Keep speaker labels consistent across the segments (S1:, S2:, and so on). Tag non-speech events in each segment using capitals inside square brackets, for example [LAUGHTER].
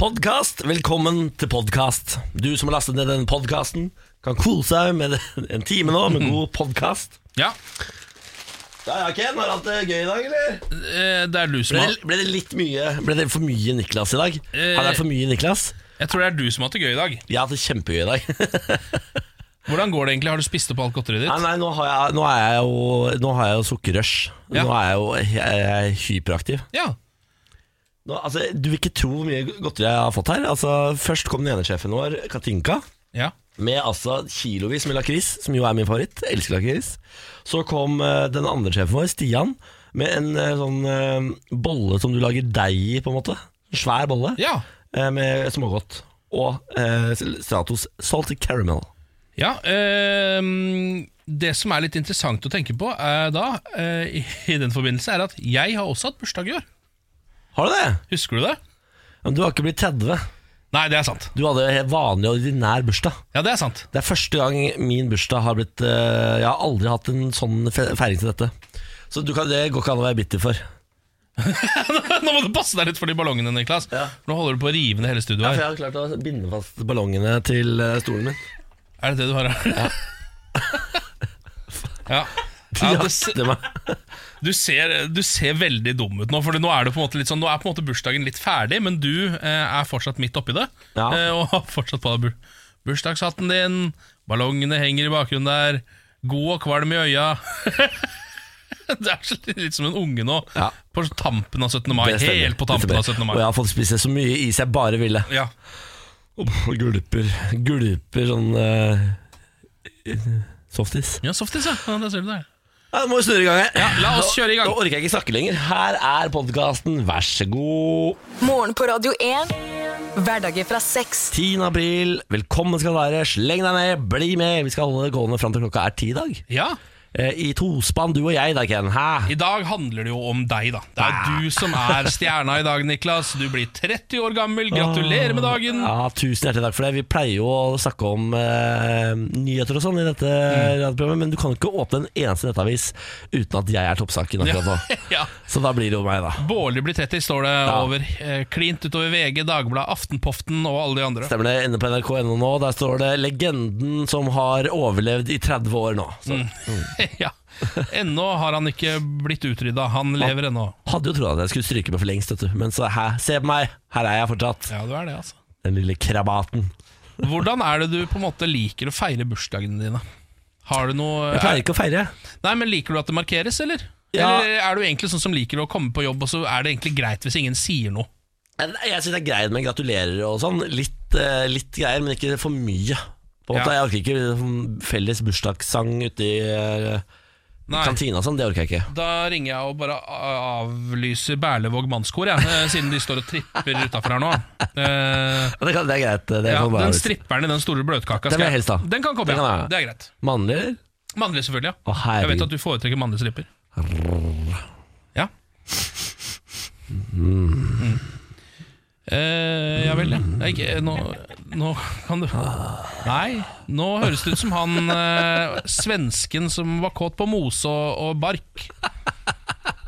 S1: Podcast, velkommen til podcast Du som har lastet ned denne podcasten Kan kose deg med en time nå Med god podcast
S2: Ja,
S1: Ja, ja, Ken, har du hatt det gøy i dag, eller?
S2: eh, det er du som
S1: Ble
S2: har
S1: det, ble det litt mye Ble det for mye Niklas i dag?
S2: Eh.
S1: Har det vært for mye Niklas?
S2: Jeg tror det er du som har hatt det gøy i dag.
S1: Jeg har hatt det kjempegøy i dag
S2: Hvordan går det egentlig? Har du spist opp alt godteriet
S1: Nei,
S2: ditt?
S1: nei, nå har jeg, nå er jeg jo Nå har jeg jo sukkerrush
S2: Ja.
S1: Nå er jeg jo jeg, jeg er hyperaktiv
S2: Ja.
S1: nå, altså, Du vil ikke tro hvor mye godteri jeg har fått her altså, Først kom den ene sjefen vår, Katinka
S2: ja.
S1: Med altså kilovis med lakris, som jo er min favoritt. Jeg elsker lakris. Så kom eh, den andre sjefen vår, Stian, med en eh, sånn eh, bolle som du lager deig i, på en måte. En svær bolle
S2: Ja.
S1: eh, med smågodt. Og eh, Stratos salted caramel.
S2: ja ehm, det som er litt interessant å tenke på eh, da, eh, i, i den forbindelse, er at jeg har også hatt bursdag i år.
S1: Har du det?
S2: Husker du det?
S1: Men du har ikke blitt 30.
S2: Nei, det er sant.
S1: Du hadde en helt vanlig ordinær bursdag.
S2: Ja, det er sant. [LAUGHS]
S1: Det er første gang min bursdag har blitt eh, Jeg har aldri hatt en sånn fe- feiring til dette. Så du kan, det går ikke an å være bitter for.
S2: Nå må du passe deg litt for de ballongene, Niklas.
S1: Ja.
S2: Nå holder du på å rive ned hele studioet her.
S1: har klart å binde fast ballongene til eh, stolen min.
S2: Er det det du har her? Ja. [LAUGHS] ja.
S1: Ja,
S2: det se-
S1: det var-
S2: du, ser, du ser veldig dum ut nå, for nå er, det på en måte litt sånn, nå er på en måte bursdagen litt ferdig, men du eh, er fortsatt midt oppi det.
S1: Ja.
S2: Eh, og har fortsatt på deg bur bursdagshatten din, ballongene henger i bakgrunnen der, god og kvalm i øya. [LAUGHS] Du er så litt som en unge nå,
S1: Ja.
S2: på tampen av 17. mai.
S1: det stemmer.
S2: Helt på
S1: Det
S2: tampen
S1: stemmer.
S2: av 17. mai.
S1: Og jeg har fått spise så mye is jeg bare ville.
S2: Ja.
S1: Og gulper, gulper sånn eh, softis.
S2: ja, softis, ja. ja. Der ser du det.
S1: Ja, nå må vi snurre i gang her.
S2: Ja, la oss kjøre i gang.
S1: Nå orker jeg ikke snakke lenger. Her er podkasten, vær så god.
S3: Morgen på Radio 1. Hverdager fra seks.
S1: 10. april, velkommen skal du være. Sleng deg ned, bli med. Vi skal holde det gående fram til klokka er ti i dag.
S2: Ja.
S1: Eh, I tospann, du og jeg da, Ken. Hæ?
S2: I dag handler det jo om deg, da. Det er du som er stjerna i dag, Niklas. Du blir 30 år gammel. Gratulerer med dagen.
S1: Ja, Tusen hjertelig takk for det. Vi pleier jo å snakke om eh, nyheter og sånn i dette
S2: Mm.
S1: radioprogrammet, men du kan jo ikke åpne en eneste nettavis uten at jeg er toppsaken akkurat nå.
S2: [LAUGHS] Ja.
S1: Så da blir det jo meg, da.
S2: Bårli blir 30, står det over. eh, Klint utover VG, Dagbladet, Aftenpoften og alle de andre.
S1: Stemmer det. Inne på nrk.no nå, der står det 'Legenden som har overlevd i 30 år nå'. Så,
S2: Mm.
S1: Mm.
S2: [LAUGHS] ja. Ennå har han ikke blitt utrydda. Han lever ennå.
S1: Hadde jo trodd at jeg skulle stryke meg for lengst, vet du. Men så hæ, se på meg, her er jeg fortsatt.
S2: Ja, du er det, altså.
S1: Den lille krabaten.
S2: Hvordan er det du på en måte liker å feire bursdagene dine? Har du noe
S1: Jeg pleier ikke å feire.
S2: Nei, men Liker du at det markeres, eller?
S1: Ja.
S2: Eller er du egentlig sånn som liker å komme på jobb, og så er det egentlig greit hvis ingen sier noe?
S1: Jeg, jeg syns det er greit med gratulerer og sånn. Litt, eh, litt greier, men ikke for mye. På en måte, Jeg orker ikke sånn felles bursdagssang ute i eh,
S2: Nei.
S1: kantina og sånn. Det orker jeg ikke.
S2: Da ringer jeg og bare a- avlyser Berlevåg mannskor, jeg, eh, siden de står og tripper utafor her nå. Eh,
S1: Men Det, kan, det er greit. Det
S2: ja,
S1: kan bare
S2: den
S1: være-
S2: stripperen i den store bløtkaka
S1: Den vil jeg
S2: skal
S1: helst ha.
S2: Den kan komme,
S1: Den kan
S2: ja.
S1: jeg ha.
S2: Det er greit.
S1: Mannlig, eller?
S2: Mannlig, selvfølgelig.
S1: Å,
S2: ja Jeg
S1: herregud.
S2: vet at du foretrekker mannlig stripper. Ja.
S1: Mm.
S2: Eh, ja vel, ja. Det er ikke, nå, nå kan du Nei, nå høres det ut som han eh, svensken som var kåt på mose og, og bark.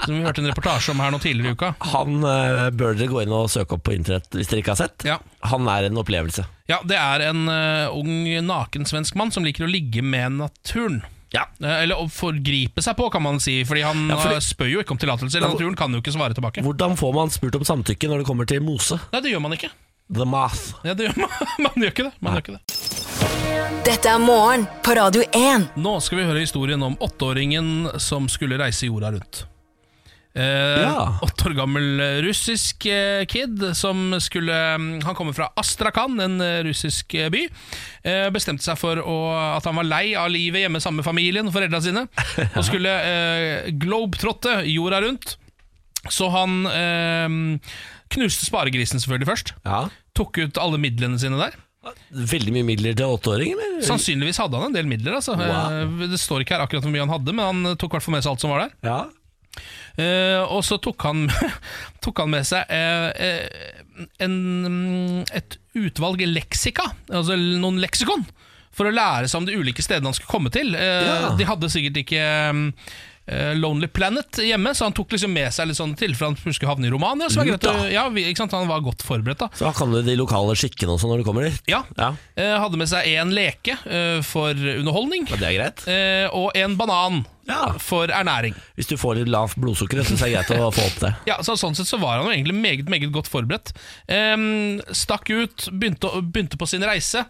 S2: Som vi hørte en reportasje om her nå tidligere i uka.
S1: Han eh, bør dere gå inn og søke opp på internett hvis dere ikke har sett.
S2: Ja.
S1: Han er en opplevelse.
S2: Ja, Det er en eh, ung nakensvensk mann som liker å ligge med naturen.
S1: Ja.
S2: Eh, Eller å forgripe seg på, kan man si. Fordi han
S1: Ja, fordi-
S2: eh, spør jo ikke om tillatelse. Eller naturen kan jo ikke svare tilbake.
S1: Hvordan får man spurt om samtykke når det kommer til mose?
S2: Nei, det gjør man ikke.
S1: The math.
S2: Ja, det gjør [LAUGHS] man, man gjør ikke det. Man gjør ikke det.
S3: Dette er morgen på Radio 1.
S2: Nå skal vi høre historien om åtteåringen som skulle reise jorda rundt. Eh,
S1: Ja.
S2: Åtte år gammel eh, russisk eh, kid som skulle mm, Han kommer fra Astrakhan, en eh, russisk eh, by. Eh, bestemte seg for å, at han var lei av livet hjemme sammen med familien og foreldra sine, og skulle eh, globetrotte jorda rundt. Så han eh, knuste sparegrisen selvfølgelig først.
S1: Ja.
S2: Tok ut alle midlene sine der.
S1: Veldig mye midler til åtteåring, eller?
S2: Sannsynligvis hadde han en del midler. Altså.
S1: Wow.
S2: Eh, Det står ikke her akkurat hvor mye han hadde, men han eh, tok i hvert fall med seg alt som var der.
S1: Ja.
S2: Eh, og så tok han, [LAUGHS] tok han med seg eh, eh, en, mm, et utvalg leksika, altså l- noen leksikon, for å lære seg om de ulike stedene han skulle komme til. Eh,
S1: Ja.
S2: De hadde sikkert ikke mm, eh, Lonely Planet hjemme, så han tok liksom med seg litt sånne til, for han skulle havne i Romania. Som var
S1: Lurt,
S2: greit, å-
S1: da.
S2: ja, vi- ikke sant? Han var godt forberedt, da.
S1: Så da kan du de lokale skikkene også når du kommer dit?
S2: Ja,
S1: Ja,
S2: eh, Hadde med seg én leke eh, for underholdning,
S1: ja, Det er greit.
S2: eh, og en banan
S1: Ja.
S2: for ernæring.
S1: Hvis du får litt lavt blodsukker, så er det greit å få opp det.
S2: Ja, så Sånn sett så var han jo egentlig meget meget godt forberedt. Ehm, stakk ut, begynte, å- begynte på sin reise.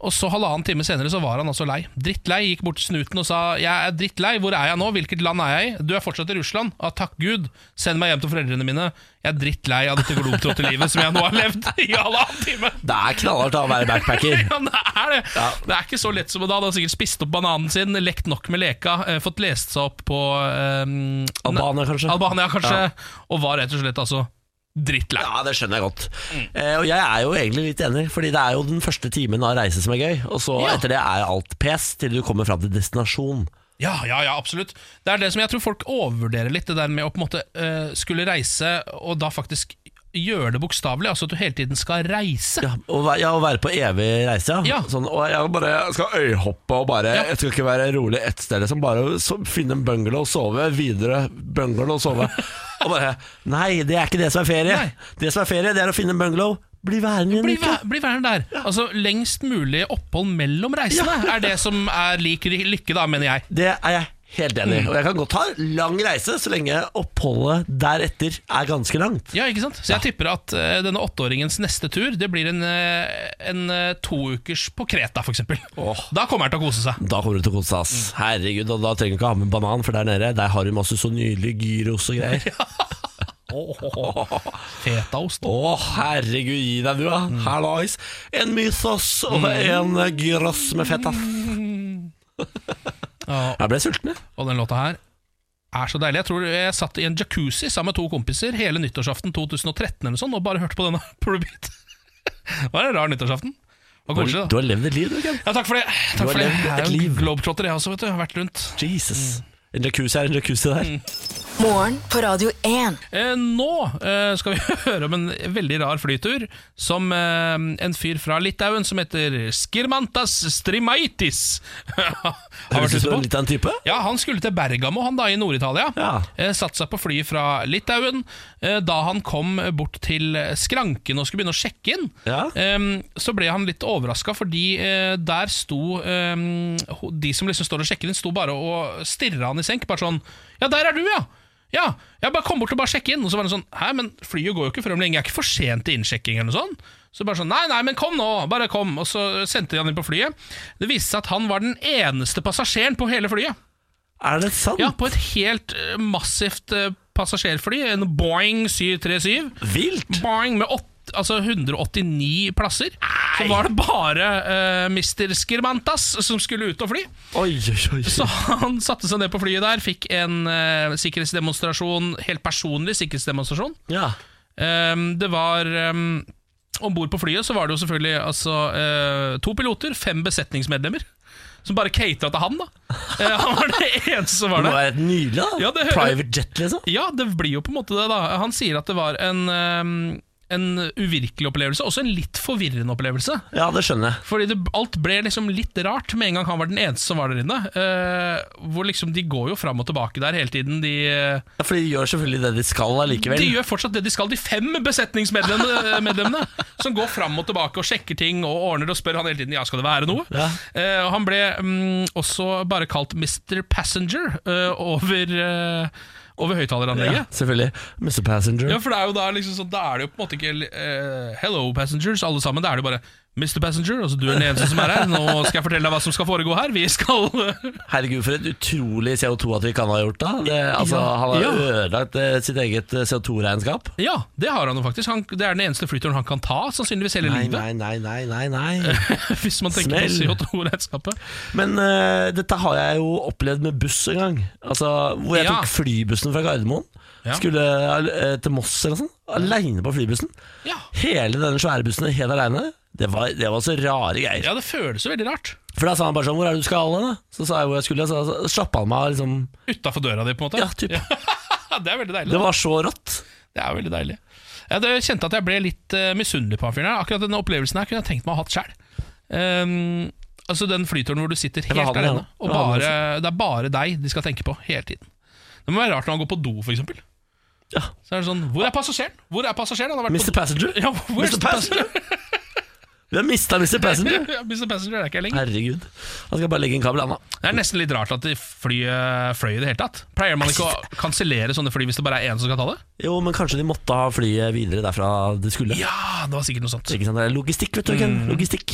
S2: Og så Halvannen time senere så var han altså lei. Drittlei. Gikk bort til snuten og sa 'Jeg er drittlei. Hvor er jeg nå? Hvilket land er jeg i?' 'Du er fortsatt i Russland.' Ah, 'Takk Gud. Send meg hjem til foreldrene mine.' 'Jeg er drittlei av dette globetrotte livet som jeg nå har levd i halvannen time.'
S1: Det er knallhardt å være backpacker.
S2: [LAUGHS] Ja, det er det. Det er ikke så lett som det. Han har sikkert spist opp bananen sin, lekt nok med leka, eh, fått lest seg opp på eh,
S1: Albania, kanskje.
S2: Albania, kanskje. Og var rett og slett altså drittlei.
S1: Ja, det skjønner jeg godt. Eh, og jeg er jo egentlig litt enig, fordi det er jo den første timen av reise som er gøy, og så
S2: Ja.
S1: etter det er alt pes til du kommer fram til destinasjon.
S2: Ja, ja, ja, absolutt. Det er det som jeg tror folk overvurderer litt, det der med å på en måte eh, skulle reise, og da faktisk gjøre det bokstavelig. Altså at du hele tiden skal reise.
S1: Ja, å, væ- ja, å være på evig reise, ja.
S2: Ja.
S1: Sånn, og jeg bare skal øyhoppe og bare
S2: Ja.
S1: Jeg skal ikke være rolig ett sted, liksom. Bare så, finne en bungalow og sove. Videre bungalow og
S2: [LAUGHS]
S1: sove. og bare Nei, det er ikke det som er ferie.
S2: Nei.
S1: Det som er ferie, det er å finne en bungalow. Bli værende i en
S2: Bli,
S1: uke.
S2: væ- bli værende der. Altså Lengst mulig opphold mellom reisene er det som er lik lykke, da, mener jeg.
S1: Det er jeg helt enig i.
S2: Mm.
S1: Og jeg kan godt ha lang reise, så lenge oppholdet deretter er ganske langt.
S2: Ja, ikke sant? Så jeg tipper at eh, denne åtteåringens neste tur Det blir en, eh, en eh, toukers på Kreta, for eksempel. Da kommer han til å kose seg.
S1: Da kommer du til å kose deg.
S2: Mm.
S1: ass. Herregud, og da trenger du ikke ha med banan, for der nede Der har du masse så nydelige gyros og
S2: [LAUGHS]
S1: greier.
S2: Fetaost.
S1: Å, herregud, gi deg du, da.
S2: Mm.
S1: Hallais. En mysos og en eh, gyros med fett, ass.
S2: Ja,
S1: Jeg ble sulten, jeg.
S2: og den låta her er så deilig. Jeg tror jeg satt i en jacuzzi sammen med to kompiser hele nyttårsaften 2013 eller sånn, og bare hørte på denne [LAUGHS] Probeat. Det var en rar nyttårsaften. Det var
S1: Du
S2: koselig,
S1: har-
S2: da.
S1: Du har levd et liv, du, Ken.
S2: Ja, takk for det.
S1: Du
S2: Takk
S1: har
S2: for det.
S1: levd
S2: Jeg
S1: et
S2: er jo
S1: liv.
S2: globetrotter, jeg også, vet du. Jeg har Vært rundt. Mm.
S1: Jesus. En jacuzzi er en jacuzzi der.
S3: Morgen på Radio 1.
S2: Eh, nå eh, skal vi [LAUGHS] høre om en veldig rar flytur som eh, en fyr fra Litauen som heter Skirmantas Strimaitis [LAUGHS] har
S1: Høres ut
S2: vært ute
S1: som
S2: på.
S1: litt av en type.
S2: Ja, Han skulle til Bergamo han da i Nord-Italia.
S1: Ja.
S2: Eh, Satt seg på flyet fra Litauen. Eh, Da han kom bort til skranken og skulle begynne å sjekke inn,
S1: Ja.
S2: eh, så ble han litt overraska, fordi eh, der sto eh, ho- De som liksom står og sjekker inn, sto bare og stirra han i senk. Bare sånn Ja, der er du, ja! Ja, jeg bare kom bort og bare sjekke inn. Og så var det sånn Hæ, men flyet går jo ikke frem lenge. Jeg er ikke for sent til innsjekking eller noe sånt. Så bare sånn Nei, nei, men kom nå! Bare kom. Og så sendte de han inn på flyet. Det viste seg at han var den eneste passasjeren på hele flyet.
S1: Er det sant?
S2: Ja, på et helt eh, massivt eh, passasjerfly, en Boeing 737.
S1: Vilt!
S2: Boeing med åtte Altså 189 plasser. Så var det bare eh, Mr. Skirmantas som skulle ut og fly.
S1: Oi, oi, oi.
S2: Så han [LAUGHS] satte seg ned på flyet der, fikk en eh, sikkerhetsdemonstrasjon, helt personlig sikkerhetsdemonstrasjon.
S1: Ja.
S2: Ehm, det var um, Om bord på flyet så var det jo selvfølgelig altså, eh, to piloter, fem besetningsmedlemmer, som bare catera til han, da. Eh, han var det [LAUGHS] eneste som var
S1: Det må
S2: der.
S1: være et nydelig, da.
S2: Ja, det hø-
S1: Private jet, liksom.
S2: Ja, det blir jo på en måte det, da. Han sier at det var en, ehm, en uvirkelig opplevelse, også en litt forvirrende opplevelse.
S1: Ja, det skjønner jeg.
S2: Fordi det, alt ble liksom litt rart med en gang han var den eneste som var der inne. Eh, hvor liksom De går jo fram og tilbake der hele tiden. De, eh,
S1: Ja, for de gjør selvfølgelig det de skal allikevel.
S2: de gjør fortsatt det de skal, de fem besetningsmedlemmene eh, medlemmene, som går fram og tilbake og sjekker ting og ordner og spør han hele tiden Ja, skal det være noe.
S1: Ja.
S2: Eh, og han ble mm, også bare kalt Mr. Passenger eh, over, eh, over høyttaleranlegget.
S1: ja, selvfølgelig. Mr. Passenger.
S2: Ja, for det er jo da liksom sånn Da er det jo på en måte ikke eh, Hello passengers, alle sammen. Da er det jo bare Mr. Passenger, altså du er den eneste som er her. Nå skal jeg fortelle deg hva som skal foregå her. Vi skal [LAUGHS]
S1: Herregud, for et utrolig CO2 at vi kan ha gjort da. Det, altså,
S2: Ja.
S1: Han har
S2: Ja.
S1: ødelagt eh, sitt eget CO2-regnskap.
S2: Ja, det har han jo faktisk. Han, det er den eneste flyturen han kan ta, sannsynligvis hele
S1: Nei,
S2: livet.
S1: nei, nei, nei, nei, nei.
S2: [LAUGHS] Hvis man tenker
S1: Smell.
S2: på CO2-regnskapet.
S1: Men eh, dette har jeg jo opplevd med buss en gang. Altså, Hvor jeg
S2: Ja.
S1: tok flybussen fra Gardermoen.
S2: Ja.
S1: Skulle eh, til Moss eller noe sånt. Aleine på flybussen.
S2: Ja.
S1: Hele denne svære bussen helt aleine. Det var, det var så rare greier.
S2: Ja, det føles jo veldig rart.
S1: For da sa han bare sånn 'Hvor er det du skal, da?' Så sa jeg hvor jeg skulle, og så så slapp han meg av. Liksom.
S2: Utafor døra di, på en måte.
S1: Ja, typ.
S2: det er veldig deilig.
S1: Det var så rått.
S2: Det er veldig deilig. Jeg hadde- kjente at jeg ble litt eh, misunnelig på han fyren her. Akkurat denne opplevelsen her kunne jeg tenkt meg å ha hatt sjøl. altså den flyturen hvor du sitter
S1: var
S2: helt
S1: han, ja.
S2: alene, og
S1: Det var han
S2: bare, det er bare deg de skal tenke på hele tiden. Det må være rart når han går på do, f.eks.
S1: Ja.
S2: Så er det sånn Hvor er passasjeren? Hvor er passasjeren? Han har vært
S1: Mr. Passenger.
S2: på do. [LAUGHS] Ja, hvor er
S1: Mr. Passenger. Vi har mista Mr. Passenger.
S2: [LAUGHS] Ja, Mr. Passenger er ikke her lenger.
S1: Herregud. Han skal bare legge en kabel, han da.
S2: Det er nesten litt rart at de flyet fløy i det hele tatt. Pleier man ikke å kansellere sånne fly hvis det bare er én som skal ta det?
S1: Jo, men kanskje de måtte ha flyet videre derfra det skulle.
S2: Ja, Mm. det var sikkert noe sånt.
S1: Ikke sant? Det er logistikk, vet du. Ken. Logistikk.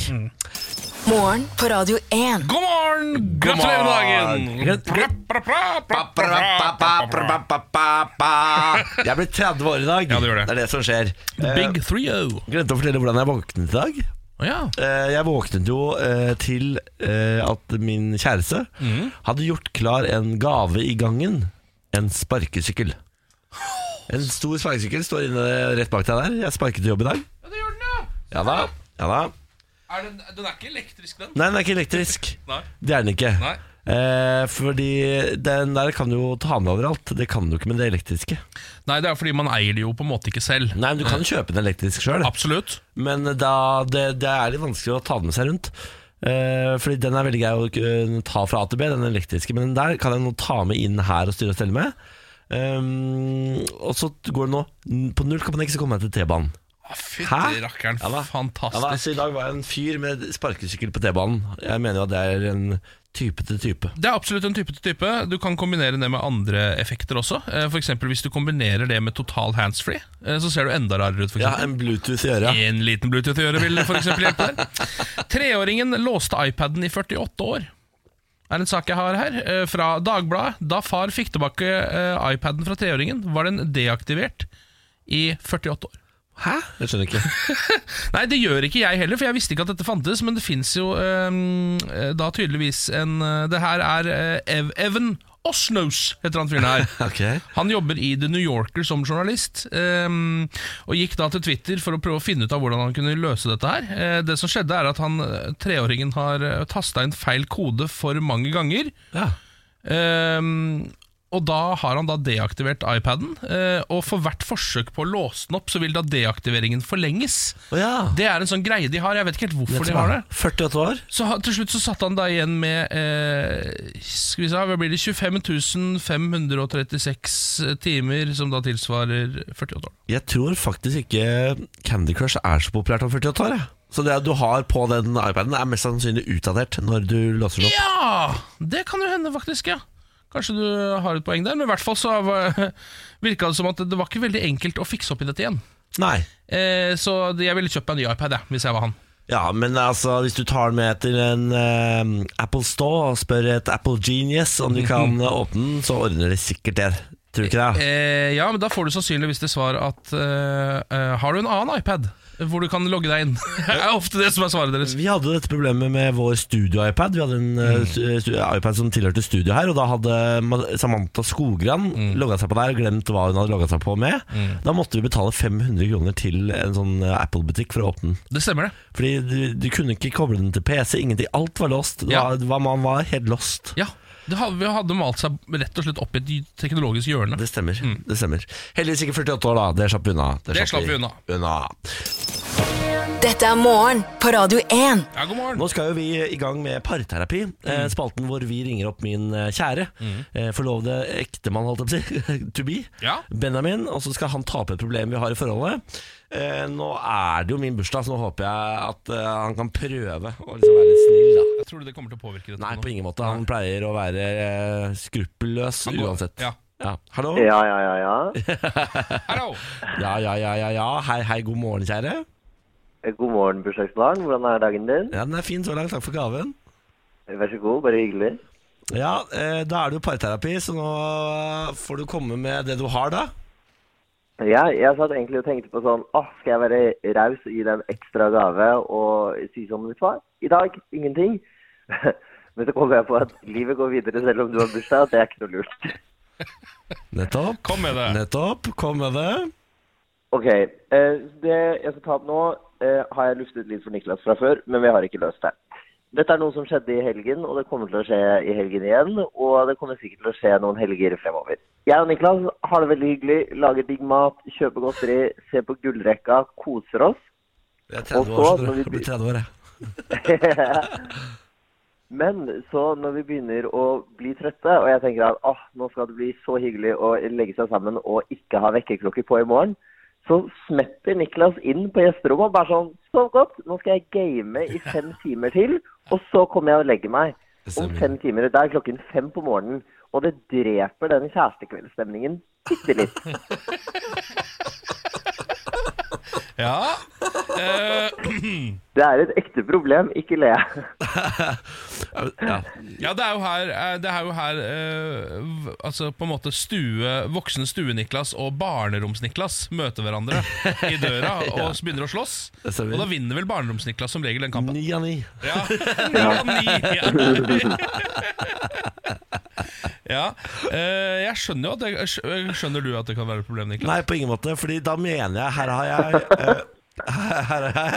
S3: Morgen på Radio 1.
S2: God morgen! Gratulerer med dagen!
S1: Jeg blir 30 år i dag.
S2: Ja, du gjør det.
S1: er det som skjer.
S2: Big 3-0.
S1: Eh, glemte å fortelle hvordan jeg våknet i dag.
S2: Å ja.
S1: Eh, Jeg våknet jo eh, til eh, at min kjæreste hadde gjort klar en gave i gangen. En sparkesykkel. En stor sparkesykkel står inne rett bak deg der. Jeg sparket til jobb i dag.
S2: ja, det gjør den, ja.
S1: Ja da. Ja da.
S2: Er den, den er ikke elektrisk, den?
S1: Nei, den er ikke elektrisk.
S2: Nei.
S1: Det er den ikke.
S2: Nei.
S1: Eh, fordi den der kan du jo ta med overalt. Det kan du ikke med det elektriske.
S2: Nei, det er fordi man eier det jo på en måte ikke selv.
S1: Nei, men Du kan jo kjøpe den elektrisk sjøl,
S2: Absolutt.
S1: men da, det, det er litt vanskelig å ta den med seg rundt. Eh, fordi den er veldig grei å kunne ta fra A til B, den elektriske, men den der kan jeg nå ta med inn her og styre og stelle med. Ehm, og så går det nå På null kan man ikke så komme meg til T-banen.
S2: Fytti rakkeren,
S1: Ja da. Ja da,
S2: fantastisk.
S1: så I dag var jeg en fyr med sparkesykkel på T-banen. Jeg mener jo at det er en type til type.
S2: Det er absolutt en type til type. Du kan kombinere det med andre effekter også. Eh, For eksempel hvis du kombinerer det med total handsfree, eh, så ser du enda rarere ut. For
S1: Ja,
S2: eksempel.
S1: En Bluetooth i øret.
S2: En liten Bluetooth i øret vil for eksempel hjelpe der. Treåringen låste iPaden i 48 år. er en sak jeg har her, eh, fra Dagbladet. Da far fikk tilbake eh, iPaden fra treåringen, var den deaktivert i 48 år.
S1: Hæ? Jeg skjønner ikke.
S2: [LAUGHS] Nei, det gjør ikke jeg heller, for jeg visste ikke at dette fantes, men det fins jo ehm, eh, da tydeligvis en eh, Det her er eh, Ev Evan Osnos, heter han fyren her.
S1: Ok.
S2: Han jobber i The New Yorker som journalist, ehm, og gikk da til Twitter for å prøve å finne ut av hvordan han kunne løse dette her. Eh, det som skjedde, er at han eh, treåringen har eh, tasta inn feil kode for mange ganger.
S1: Ja.
S2: Ehm, og da har han da deaktivert iPaden, eh, og for hvert forsøk på å låse den opp, så vil da deaktiveringen forlenges.
S1: Å ja.
S2: Det er en sånn greie de har, jeg vet ikke helt hvorfor de har det.
S1: 48 år?
S2: Så ha- til slutt så satt han da igjen med eh, Skal vi se, hva blir det 25 536 timer, som da tilsvarer 48 år.
S1: Jeg tror faktisk ikke Candy Crush er så populært om 48 år. Jeg. Så det du har på den iPaden, er mest sannsynlig utdatert når du låser den opp.
S2: Ja! Det kan jo hende, faktisk. ja Kanskje du har et poeng der, men i hvert fall så var- virka det som at det var ikke veldig enkelt å fikse opp i dette igjen.
S1: Nei.
S2: Eh, så det- jeg ville kjøpt meg en ny iPad, jeg, hvis jeg var han.
S1: Ja, men altså, hvis du tar den med til en eh, Apple Store og spør et Apple Genius om du kan åpne den, så ordner de sikkert det. Tror du ikke det?
S2: Eh, ja, men da får du sannsynligvis til svar at eh, eh, Har du en annen iPad hvor du kan logge deg inn? [LAUGHS] Det er ofte det som er svaret deres.
S1: Vi hadde dette problemet med vår studio-iPad. Vi hadde en
S2: Mm.
S1: eh, stu- stu- iPad som tilhørte studio her, og da hadde Ma- Samantha Skogran
S2: Mm.
S1: logga seg på der og glemt hva hun hadde logga seg på med. Da måtte vi betale 500 kroner til en sånn eh, Apple-butikk for å åpne den.
S2: Det stemmer, det.
S1: Fordi du, du kunne ikke koble den til PC, ingenting. Alt var lost. Det
S2: Ja.
S1: var, det var, man var helt lost.
S2: Ja, det hadde, Vi hadde malt seg rett og slett opp i et teknologisk hjørne.
S1: Det stemmer. det stemmer Heldigvis ikke 48 år, da. Det slapp vi unna.
S2: Mm. Det slapp vi unna.
S3: Dette er morgen på Radio 1.
S2: Ja, god morgen
S1: Nå skal jo vi i gang med parterapi.
S2: Mm.
S1: Eh, spalten hvor vi ringer opp min eh, kjære. Eh, forlovede ektemann, holdt jeg på å si. [LAUGHS] to be.
S2: Ja.
S1: Benjamin. Og så skal han ta opp et problem vi har i forholdet. Eh, nå er det jo min bursdag, så nå håper jeg at eh, han kan prøve å liksom være litt snill, da.
S2: Jeg tror du det kommer til å påvirke dette
S1: Nei,
S2: nå?
S1: på ingen måte. Han pleier å være eh, skruppelløs
S2: går-
S1: uansett.
S2: ja.
S1: Hallo?
S4: Ja, ja, ja, ja.
S2: Hallo!
S1: Ja, ja, ja, ja, ja. Hei, hei, god morgen, kjære.
S4: God morgen, bursdagsbarn. Hvordan er dagen din?
S1: Ja, Den er fin så langt. Takk for gaven.
S4: Vær så god, bare hyggelig.
S1: Ja, eh, Da er det jo parterapi, så nå eh, får du komme med det du har, da.
S4: Ja, jeg satt egentlig og tenkte på sånn Åh, skal jeg være raus og gi deg en ekstra gave og si som mitt svar? I dag ingenting. [LAUGHS] Men så kom jeg på at livet går videre selv om du har bursdag, og det er ikke noe lurt.
S1: Nettopp.
S2: Kom med det.
S1: Nettopp. Kom med det.
S4: Ok, eh, det jeg skal ta opp nå eh, har jeg luftet litt for Niklas fra før, men vi har ikke løst det. Dette er noe som skjedde i helgen, og det kommer til å skje i helgen igjen. Og det kommer sikkert til å skje noen helger fremover. Jeg og Niklas har det veldig hyggelig, lager digg mat, kjøper godteri, ser på gullrekka, koser oss.
S1: Jeg er
S4: Og
S1: 30
S4: så,
S1: år, så
S4: når vi
S1: jeg blir
S4: blir-
S1: 30 år, jeg.
S4: [LAUGHS] Men så når vi begynner å bli trøtte, og jeg tenker at «Åh, nå skal det bli så hyggelig å legge seg sammen og ikke ha vekkerklokke på i morgen, så smetter Niklas inn på gjesterommet og bare sånn Sov godt, nå skal jeg game i
S1: [LAUGHS]
S4: fem timer til, og så kommer jeg og legger meg. Om
S1: Stemmer.
S4: fem timer. Da er klokken fem på morgenen, og det dreper den kjærestekveldsstemningen bitte
S1: [LAUGHS]
S4: litt.
S2: Ja. Eh,
S4: Det er et ekte problem, ikke le.
S1: Ja.
S2: ja, det er jo her, eh, det er jo her eh, v- Altså på en måte stue, voksne stue-Niklas og barneroms-Niklas møter hverandre i døra og s- begynner å slåss.
S1: Det stemmer.
S2: Og da vinner vel barneroms-Niklas som regel den kampen.
S1: Ni av ni.
S2: [LAUGHS] Ja. Ni av ni. Ja. Eh, Jeg skjønner jo at det, skj- Skjønner du at det kan være et problem, Niklas?
S1: Nei, på ingen måte, fordi da mener jeg Her har jeg eh, [LAUGHS] her, her, har jeg- her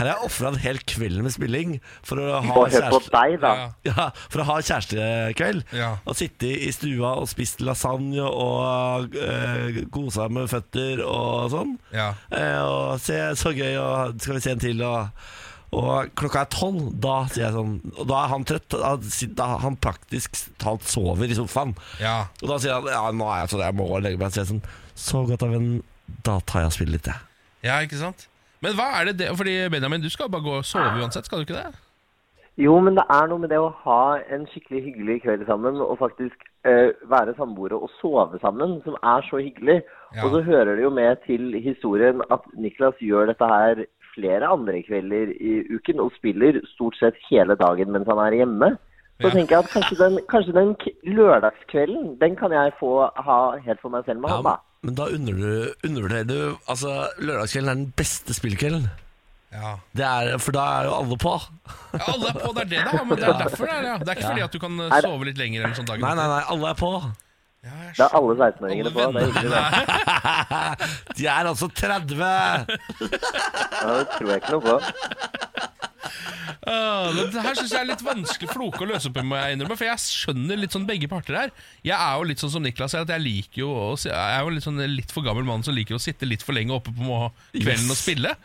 S1: har jeg ofra en hel kveld med spilling for å ha
S4: Og hør på
S1: kjæreste-
S4: deg, da.
S2: Ja.
S1: Ja, for å ha kjærestekveld.
S2: Ja.
S1: Og sitte i stua og spist lasagne og uh, kosa med føtter og sånn.
S2: Ja.
S1: Eh, og se, så gøy, og skal vi se en til, og og klokka er tolv, da sier jeg sånn Og da er han trøtt. Da, sit- da han praktisk talt sover i sofaen.
S2: Ja.
S1: Og da sier han ja, nå er jeg sånn, jeg må legge meg. Så sier jeg sånn, så godt da, vennen, da tar jeg og spiller litt, jeg.
S2: Ja, ikke sant? Men hva er det det Fordi Benjamin, du skal bare gå og sove uansett, skal du ikke det?
S4: Jo, men det er noe med det å ha en skikkelig hyggelig kveld sammen, og faktisk eh, være samboere og sove sammen, som er så hyggelig.
S2: Ja.
S4: Og så hører det jo med til historien at Niklas gjør dette her flere andre kvelder i uken, og spiller stort sett hele dagen mens han er hjemme. Så
S2: Ja.
S4: tenker jeg at kanskje den, kanskje den k lørdagskvelden, den kan jeg få ha helt for meg selv med
S1: Ja,
S4: han, da.
S1: men, men da undervurderer du, undervurderer du Altså, lørdagskvelden er den beste spillkvelden.
S2: Ja.
S1: Det er, for da er jo alle på.
S2: Alle er på, det er det, da. Men det er derfor det er det. Ja. Det er ikke fordi at du kan eh,
S4: Nei, det-
S2: sove litt lenger eller sånn dagen
S1: Nei, nei, nei, alle er på.
S2: Ja, jeg
S4: Det er
S2: skjønner.
S4: alle 16-åringene på. Det er hyggelig, det.
S1: De er altså 30!
S4: Ja, det tror jeg ikke noe på.
S2: Ah, det- Det her syns jeg er litt vanskelig floke å løse opp i, må jeg innrømme. For jeg skjønner litt sånn begge parter her. Jeg er jo litt sånn som Niklas er, at jeg liker jo å si- Jeg er jo litt sånn litt for gammel mann som liker å sitte litt for lenge oppe på må- kvelden
S1: Yes.
S2: og spille.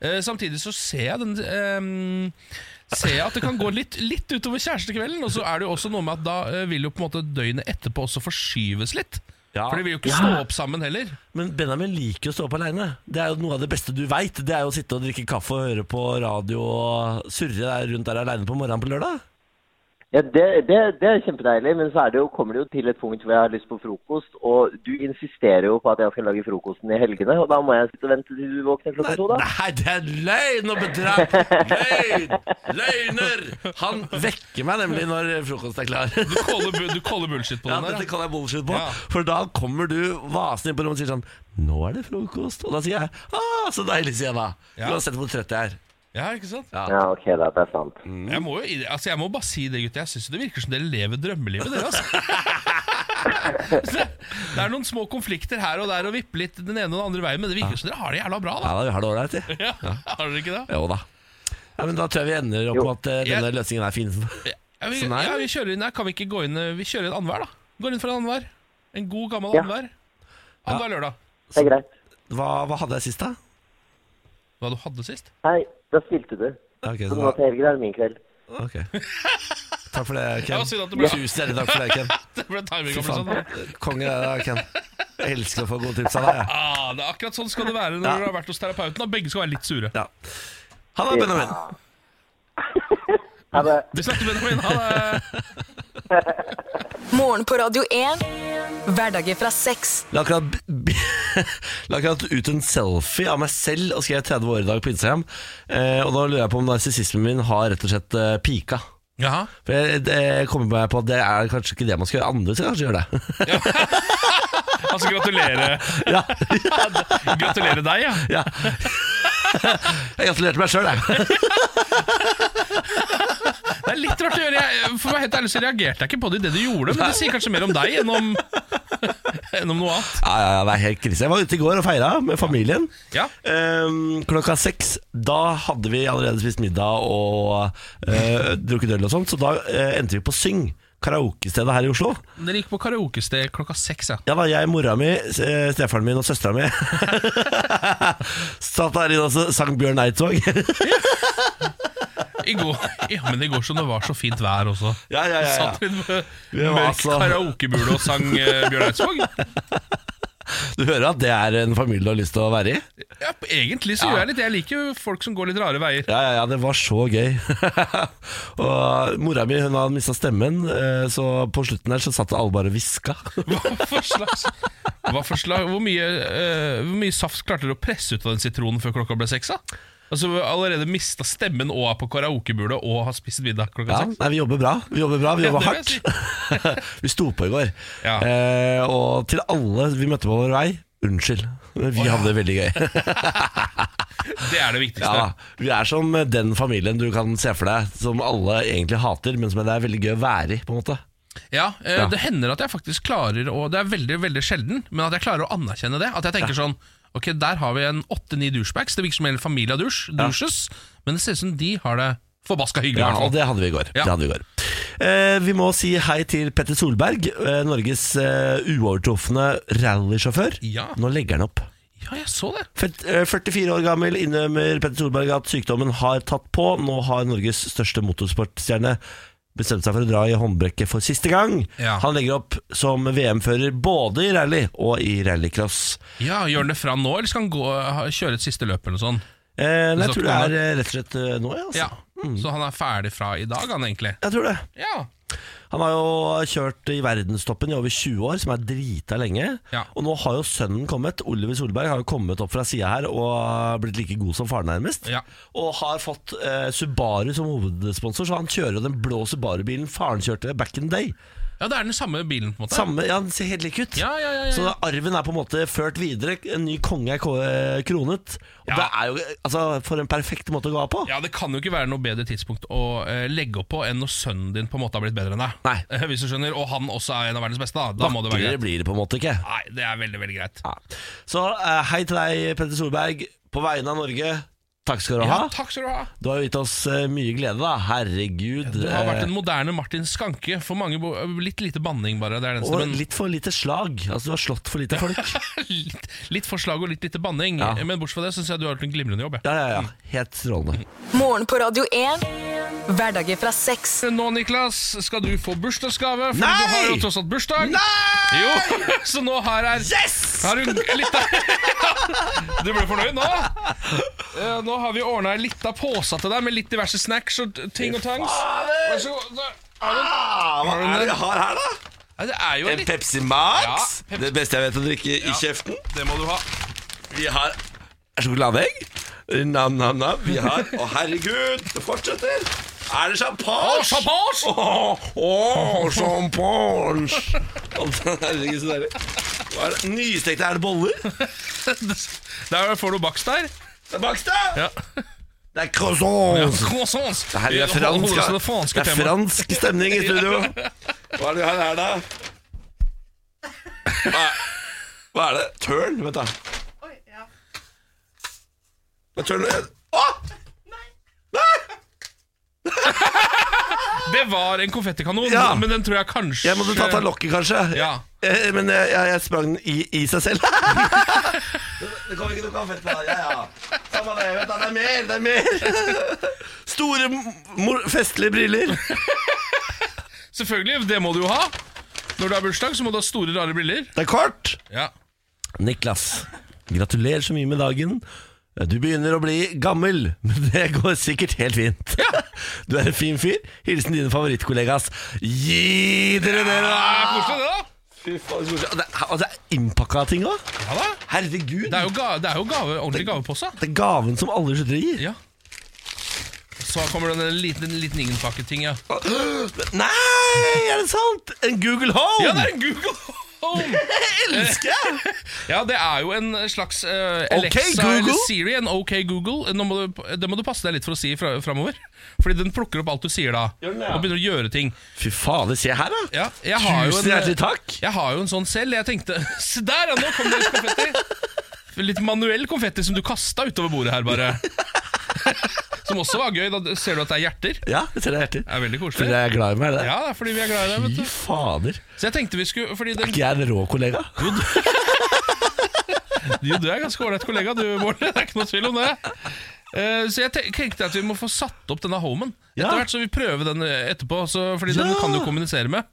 S2: Eh, samtidig så ser jeg den ehm, Ser jeg at det kan gå litt, litt utover kjærestekvelden. Og så er det jo også noe med at da eh, vil jo på en måte døgnet etterpå også forskyves litt.
S1: Ja.
S2: For de vil jo ikke stå opp sammen heller.
S1: Men Benjamin liker å stå opp aleine. Det er jo noe av det beste du veit. Det er jo å sitte og drikke kaffe og høre på radio og surre der rundt der aleine på morgenen på lørdag.
S4: Ja, det, det, det er kjempedeilig, men så er det jo, kommer det jo til et punkt hvor jeg har lyst på frokost, og du insisterer jo på at jeg skal lage frokosten i helgene, og da må jeg sitte og vente til du våkner klokka to, da.
S1: Nei, det er løgn og bedrag! Løgn! Løgner! Han vekker meg nemlig når frokosten er klar.
S2: Du caller, bu- du caller bullshit på
S1: Ja,
S2: den der.
S1: dette
S2: ja.
S1: kaller jeg bullshit på.
S2: Ja.
S1: For da kommer du vasende inn på rommet og sier sånn Nå er det frokost. Og da sier jeg ah, så deilig, sier jeg da.
S2: Ja.
S1: Uansett hvor trøtt jeg er.
S2: Ja, ikke sant?
S4: Ja, ok, da, det er sant.
S1: Mm.
S2: Jeg må jo altså jeg må bare si det, gutter. Jeg syns det virker som dere lever drømmelivet, dere. altså [LAUGHS] det, det er noen små konflikter her og der og vipper litt den ene og den andre veien, men det virker som dere har det jævla bra, da.
S1: Ja da, vi har det ålreit, vi.
S2: Ja, [LAUGHS] har dere ikke det?
S1: Jo da. Ja, men da tror jeg vi ender opp
S4: Jo.
S1: med at eh, denne
S2: Jeg-
S1: løsningen er fin.
S2: Ja, vi,
S1: Så nei.
S2: ja, vi kjører inn her. Kan vi ikke gå inn eh, Vi kjører inn annenhver, da. Går inn for en annenhver. En god, gammel
S4: Ja.
S2: annenhver. Annenhver lørdag.
S4: Det er greit.
S1: Hva, hva hadde jeg sist, da?
S2: Hva du hadde sist? [LAUGHS]
S4: Hei, da spilte du.
S1: Ok,
S4: Så
S1: så
S4: nå
S1: da,
S4: til helgen er det min kveld.
S1: ok Takk for det,
S2: [LAUGHS] Ja,
S1: Ken.
S2: synd at det ble-
S1: Tusen hjertelig takk for det,
S2: [LAUGHS]
S1: Ken.
S2: Det ble timing
S1: Fy
S2: over sånn.
S1: faen. Konge er det, Ken. Jeg elsker å få gode tips av deg. jeg.
S2: Ah, det er akkurat sånn skal det være når
S1: Ja.
S2: du har vært hos terapeuten, og begge skal være litt sure.
S1: Ja. Ha det, Benjamin.
S4: Ha det.
S2: Du snakker med dem, ha det.
S3: Morgen på Radio 1. Hverdager fra seks.
S1: La akkurat, b- b- [LAUGHS] la akkurat ut en selfie av meg selv og skrev 30 år i dag på Instagram. Eh, og da lurer jeg på om narsissismen min har rett og slett eh, pika.
S2: Jaha. [LAUGHS]
S1: For jeg, det- jeg kommer meg på at det er kanskje ikke det man skal gjøre. Andre skal kanskje gjøre det.
S2: [LAUGHS] Altså, gratulerer.
S1: ja,
S2: Gratulerer deg, ja.
S1: ja. Jeg gratulerte meg sjøl, jeg.
S2: Det er litt rart å gjøre. Jeg, for å være helt ærlig så reagerte jeg ikke på det i det du gjorde, men det sier kanskje mer om deg [LAUGHS] enn om, gjennom noe annet.
S1: Ja, ja, ja, det er helt krise. Jeg var ute i går og feira med familien.
S2: Ja.
S1: Ehm, klokka seks. Da hadde vi allerede spist middag og eh, drukket øl og sånt, så da eh, endte vi på Syng, karaokestedet her i Oslo.
S2: Dere gikk på karaokested klokka seks, ja.
S1: Ja da, jeg, mora mi, eh, stefaren min [LAUGHS] og søstera mi satt der inne og så sang Bjørn Eidsvåg. [LAUGHS]
S2: I går, ja, men i går som det var så fint vær også.
S1: Ja, ja, ja, ja.
S2: Satt vi
S1: Vi
S2: med
S1: var
S2: mørk
S1: altså-
S2: karaokebule og sang eh, Bjørn
S1: [LAUGHS]
S2: Eidsvåg?
S1: du hører at det er en familie du har lyst til å være i?
S2: Ja, egentlig så
S1: Ja.
S2: gjør jeg litt Jeg liker jo folk som går litt rare veier.
S1: Ja, ja, ja, det var så gøy. [LAUGHS] og mora mi hun hadde mista stemmen, eh, så på slutten der så satt alle bare og hviska.
S2: Hva for slags, hva for slags hvor, mye, eh, hvor mye saft klarte dere å presse ut av den sitronen før klokka ble seks? da? Altså, vi har Allerede mista stemmen og er på karaokebule og har spist middag
S1: [LAUGHS]
S2: klokka
S1: Ja,
S2: seks.
S1: nei, vi jobber bra. Vi jobber bra, vi
S2: Ja,
S1: jobber
S2: det
S1: hardt.
S2: vil
S1: [LAUGHS] vi sto på i går.
S2: Ja.
S1: Eh, og til alle vi møtte på vår vei, unnskyld. Men Vi hadde det veldig gøy.
S2: [LAUGHS] Det er
S1: Ja,
S2: det viktigste.
S1: vi er som den familien du kan se for deg som alle egentlig hater, men som det er veldig gøy å være i. på en måte
S2: Ja, eh,
S1: Ja.
S2: Det hender at jeg faktisk klarer å Det er veldig veldig sjelden, men at jeg klarer å anerkjenne det. At jeg tenker sånn Ok, der har vi en åtte-ni douchebags. Det virker som hele familia douche, douches, men det ser ut som de har det forbaska hyggelig.
S1: Ja,
S2: i hvert fall.
S1: og det hadde vi i går.
S2: Ja.
S1: Det hadde vi, i går. Eh, vi må si hei til Petter Solberg, eh, Norges eh, uovertrufne rallysjåfør.
S2: Ja.
S1: Nå legger han opp.
S2: ja, jeg så det.
S1: Fett- eh, 44 år gammel innrømmer Petter Solberg at sykdommen har tatt på. Nå har Norges største motorsportstjerne bestemt seg for å dra i håndbrekket for siste gang.
S2: Ja.
S1: Han legger opp som VM-fører både i rally og i rallycross.
S2: Ja, Gjør han det fra nå, eller skal han gå, ha- kjøre et siste løp eller noe sånt?
S1: Eh, nei,
S2: Så
S1: jeg tror det er eh, rett og slett eh, nå, ja, altså.
S2: Ja. Så han er ferdig fra i dag, han egentlig?
S1: Jeg tror det.
S2: Ja.
S1: Han har jo kjørt i verdenstoppen i over 20 år, som er drita lenge.
S2: Ja.
S1: Og nå har jo sønnen kommet. Oliver Solberg har jo kommet opp fra sida her og blitt like god som faren, nærmest.
S2: Ja.
S1: Og har fått eh, Subaru som hovedsponsor, så han kjører jo den blå Subaru-bilen faren kjørte back in day.
S2: ja, det er den samme bilen, på en måte.
S1: Samme, ja, Den ser helt lik ut.
S2: Ja, ja, ja, ja,
S1: Så
S2: ja.
S1: arven er på en måte ført videre. En ny konge er ko- eh, kronet. Og
S2: Ja.
S1: det er jo altså, For en perfekt måte å gå av på.
S2: Ja, Det kan jo ikke være noe bedre tidspunkt å eh, legge opp på enn når sønnen din på en måte har blitt bedre enn deg.
S1: Nei.
S2: Eh, Hvis du skjønner, Og han også er en av verdens beste. Da, da må det være
S1: Vakrere
S2: greit.
S1: blir det på en måte ikke.
S2: Nei, det er veldig, veldig greit.
S1: Ja. Så eh, hei til deg, Petter Solberg. På vegne av Norge, takk skal du
S2: Ja,
S1: ha.
S2: takk skal du ha.
S1: Du har jo gitt oss eh, mye glede, da. Herregud.
S2: Du har vært en
S1: eh,
S2: moderne Martin Skanke. For mange bo Litt lite banning, bare. Det er det eneste.
S1: og
S2: Men
S1: litt for lite slag. Altså, du har slått for
S2: [LAUGHS]
S1: lite folk.
S2: litt, litt forslag og litt lite banning.
S1: Ja.
S2: Men bortsett fra det syns jeg du har gjort en glimrende jobb. jeg.
S1: Ja, ja, ja. Helt strålende.
S3: Morgen på Radio 1. Hverdager fra seks.
S2: Nå, Niklas, skal du få bursdagsgave, for
S1: Nei!
S2: du har jo tross alt bursdag.
S1: Nei!
S2: Jo, [LAUGHS] Så nå her er
S1: Yes!
S2: Har du litt av [LAUGHS] Du ble fornøyd nå? Eh, Nå har vi ordna ei lita pose til deg med litt diverse snacks og ting og tangs. Vær så god. Der. Har du den?
S1: Ah, hva
S2: er det
S1: jeg har her, da?
S2: Nei, Det er jo en litt
S1: Pepsi Max.
S2: Ja, Pepsi- Det
S1: beste jeg vet å drikke i kjeften.
S2: Det må du ha.
S1: Vi har sjokoladeegg. Nam-nam-nam. Vi har Å, herregud, det fortsetter. Er det champagne?
S2: Å, champagne!
S1: Åh, åh, champagne! Altså, Herregud, så deilig. Hva er det? Nystekte er det boller?
S2: [LAUGHS] Der får du bakst der.
S1: Det er bakst, da!
S2: Ja.
S1: Det er croissants!
S2: [LAUGHS] Croissants.
S1: Det her er fransk,
S2: Holder oss til
S1: ja.
S2: det franske
S1: det er
S2: temaet.
S1: fransk stemning i studio. Hva er det vi har her, da? Hva er, hva er det? Tørn? Vent, da. Hva er tørn? Å!
S2: Det var en konfettikanon,
S1: Ja.
S2: men den tror jeg kanskje
S1: Jeg måtte tatt av lokket, kanskje.
S2: Ja.
S1: Eh, Men jeg, jeg, jeg sprang den i, i seg
S2: [LAUGHS]
S1: selv. [LAUGHS] det kommer ikke noe konfett på deg. Ja, ja. Samme det. Vent, da. Det er mer, det er mer. [LAUGHS] Store, mor festlige briller.
S2: Selvfølgelig, det må du jo ha. Når du har bursdag, så må du ha store, rare briller.
S1: Det er kort.
S2: Ja.
S1: Niklas, gratulerer så mye med dagen. Du begynner å bli gammel, men det går sikkert helt fint. [LAUGHS] Du er en fin fyr. Hilsen dine favorittkollegas. Gi dere det,
S2: Det er
S1: da!
S2: koselig, det, da.
S1: Fy faen, så koselig. Og det er- Og det er innpakka ting òg.
S2: Ja da.
S1: Herregud.
S2: Det er jo, ga det er jo gave, ordentlig gavepose.
S1: Det er gaven som alle slutter å gi.
S2: Ja. Så kommer det en liten, en liten ingenpakketing, ja.
S1: Nei, er det sant? En Google Home!
S2: Ja, det er en Google! home!
S1: Elsker [LAUGHS] jeg!
S2: Ja, det er jo en slags eh,
S1: Ok,
S2: Alexa eller
S1: Google.
S2: Siri, en OK Google. Nå må du, det må du passe deg litt for å si fra, framover. Fordi den plukker opp alt du sier da,
S1: Gjør den det, ja?
S2: og begynner å gjøre ting.
S1: Fy fader, se her, da.
S2: Ja, jeg har jo
S1: Tusen
S2: en-
S1: hjertelig takk.
S2: Jeg har jo en sånn selv. Jeg tenkte [LAUGHS] Se der, ja! Nå kom det litt konfetti. Litt manuell konfetti som du kasta utover bordet her, bare. [LAUGHS] Som også var gøy. Da ser du at det er hjerter.
S1: Ja, jeg ser deg hjertelig.
S2: Det er veldig
S1: Fordi
S2: koselig.
S1: jeg er glad i meg, er det?
S2: Ja, det er fordi vi er glad i deg, vet
S1: Fy
S2: du.
S1: fader.
S2: Så jeg tenkte vi skulle Fordi
S1: Er
S2: den,
S1: ikke jeg en rå kollega?
S2: du, du er ganske ålreit kollega, du, Bård. [LAUGHS] Det er ikke noe tvil om det. Eh, så jeg te- tenkte at vi må få satt opp denne homen. Etter
S1: Ja.
S2: hvert så vi prøver den eh, etterpå, så, fordi den
S1: Ja.
S2: kan du kommunisere med.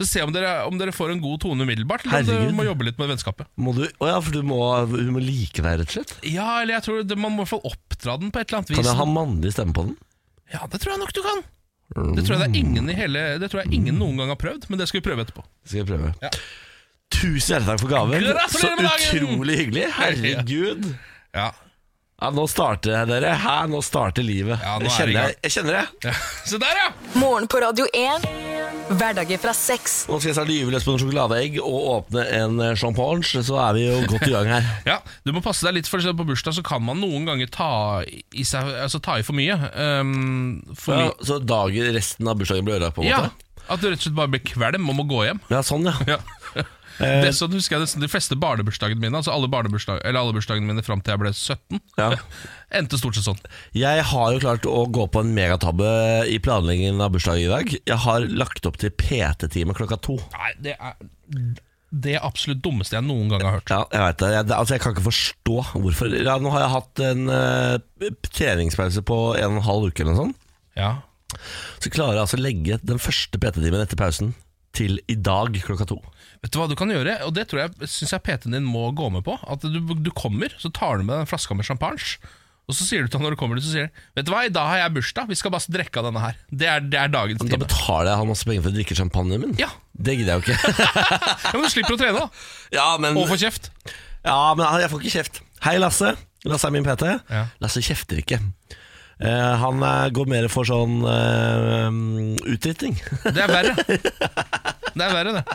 S2: Så se om dere, om dere får en god tone umiddelbart, eller om
S1: Herregud.
S2: dere må jobbe litt med vennskapet.
S1: Må du, å ja, for du må, du må like deg, rett og slett.
S2: Ja, eller jeg tror det, man må i hvert fall oppdra den på et eller annet vis.
S1: Kan jeg ha mannlig stemme på den?
S2: Ja, det tror jeg nok du kan. Det tror jeg, det er ingen i hele, det tror jeg ingen noen gang har prøvd, men det skal vi prøve etterpå.
S1: Det skal jeg prøve.
S2: Ja.
S1: Tusen hjertelig takk for gaven. Så
S2: Gratulerer med dagen!
S1: utrolig hyggelig. Herregud.
S2: Ja,
S1: Ja, nå starter jeg, dere. Her, nå starter livet.
S2: Ja, nå
S1: jeg,
S2: er det i
S1: kjenner,
S2: gang.
S1: jeg, jeg kjenner det.
S2: Se der, ja! [LAUGHS]
S3: Morgen på Radio 1. Hverdager fra seks.
S1: Nå skal jeg snart gyve løs på noen sjokoladeegg og åpne en eh, champagne, så er vi jo godt i gang her.
S2: [LAUGHS] Ja, Du må passe deg litt, for eksempel på bursdag så kan man noen ganger ta i, seg, altså, ta i for mye. ehm, for
S1: Ja,
S2: mye.
S1: så dagen, resten av bursdagen blir ødelagt, på en
S2: Ja,
S1: måte?
S2: At du rett og slett bare blir kvalm og må gå hjem.
S1: Ja, sånn, ja. [LAUGHS]
S2: Ja.
S1: Eh,
S2: Det er sånn husker jeg nesten de fleste barnebursdagene mine, altså alle, barnebursdag, eller alle bursdagene mine fram til jeg ble 17,
S1: Ja.
S2: [LAUGHS] endte stort sett sånn.
S1: Jeg har jo klart å gå på en megatabbe i planleggingen av bursdagen i dag. Jeg har lagt opp til PT-time klokka to.
S2: Nei, det er det absolutt dummeste jeg noen gang har hørt.
S1: Ja, jeg vet det. Jeg, det- altså, jeg kan ikke forstå hvorfor. Ja, nå har jeg hatt en eh, treningspause på en og en halv uke eller noe sånt.
S2: Ja,
S1: Så klarer jeg altså å legge den første PT-timen etter pausen til i dag klokka to.
S2: Vet du hva du kan gjøre, og det tror jeg synes jeg PT-en din må gå med på. At du, du kommer, så tar du med den flaska med champagne. Og så sier du til han når du kommer, så sier han Vet du hva, i dag har jeg bursdag, vi skal bare drikke av denne her. Det er, det er dagens
S1: Men da
S2: time.
S1: betaler jeg han masse penger for å drikke champagnen min.
S2: Ja.
S1: Det gidder jeg jo ikke.
S2: ja, Men du slipper å trene, da.
S1: [LAUGHS] ja, men,
S2: Og få kjeft.
S1: ja, men jeg får ikke kjeft. Hei, Lasse. Lasse er min PT.
S2: Ja.
S1: Lasse kjefter ikke. Eh, han er, går mer for sånn uh, utrytning.
S2: Det er verre. Det er verre, [LAUGHS] det.
S1: [LAUGHS]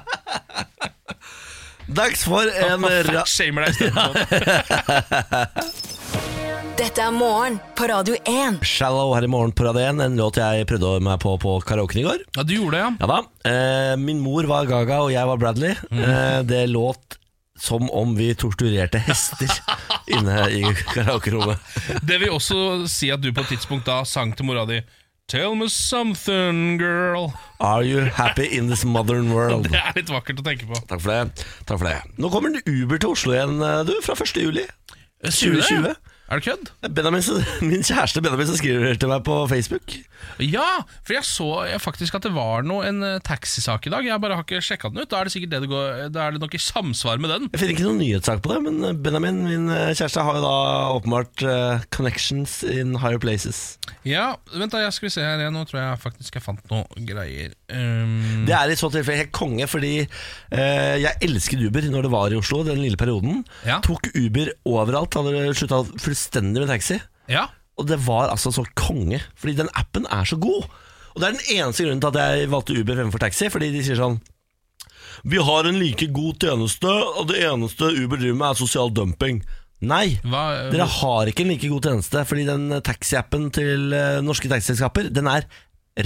S1: Dags for en ra
S2: Shamer deg i stedet. for-
S3: Dette er morgen på Radio 1.
S1: Shallow her i morgen på Radio 1, en låt jeg prøvde å meg på på karaoken i går.
S2: [LAUGHS] Ja, du gjorde det, ja.
S1: Ja da. Eh, min mor var Gaga, og jeg var Bradley. Eh, det låt som om vi torturerte hester inne i karaokerommet.
S2: Det vil også si at du på et tidspunkt da sang til mora di Tell me something, girl.
S1: Are you happy in this modern world?
S2: [LAUGHS] Det er litt vakkert å tenke på.
S1: Takk for det. Takk for det. Nå kommer en Uber til Oslo igjen, eh, du, fra 1. juli. 2020.
S2: Er Eh, det kødd?
S1: Benjamin, som- [LAUGHS] min kjæreste Benjamin som skriver til meg på Facebook.
S2: Ja, for jeg så jeg faktisk at det var noe, en eh, taxisak i dag. Jeg bare har ikke sjekka den ut. Da er det sikkert det det går, da er det nok i samsvar med den.
S1: Jeg finner ikke noen nyhetssak på det, men Benjamin, min eh, kjæreste, har jo da åpenbart eh, connections in higher places.
S2: Ja, vent da, jeg skal vi se her. jeg- Nå tror jeg faktisk jeg fant noe greier. Um,
S1: Det er i så tilfelle helt konge, fordi eh, jeg elsket Uber når det var i Oslo, den lille perioden.
S2: Ja.
S1: Tok Uber overalt, hadde slutta fullstendig med taxi.
S2: ja,
S1: Og det var altså så konge, fordi den appen er så god. Og det er den eneste grunnen til at jeg valgte Uber fremfor taxi, fordi de sier sånn Vi har en like god tjeneste, og det eneste Uber driver med, er sosial dumping. Nei.
S2: hva,
S1: Dere har ikke en like god tjeneste, fordi den taxiappen til eh, norske taxiselskaper, den er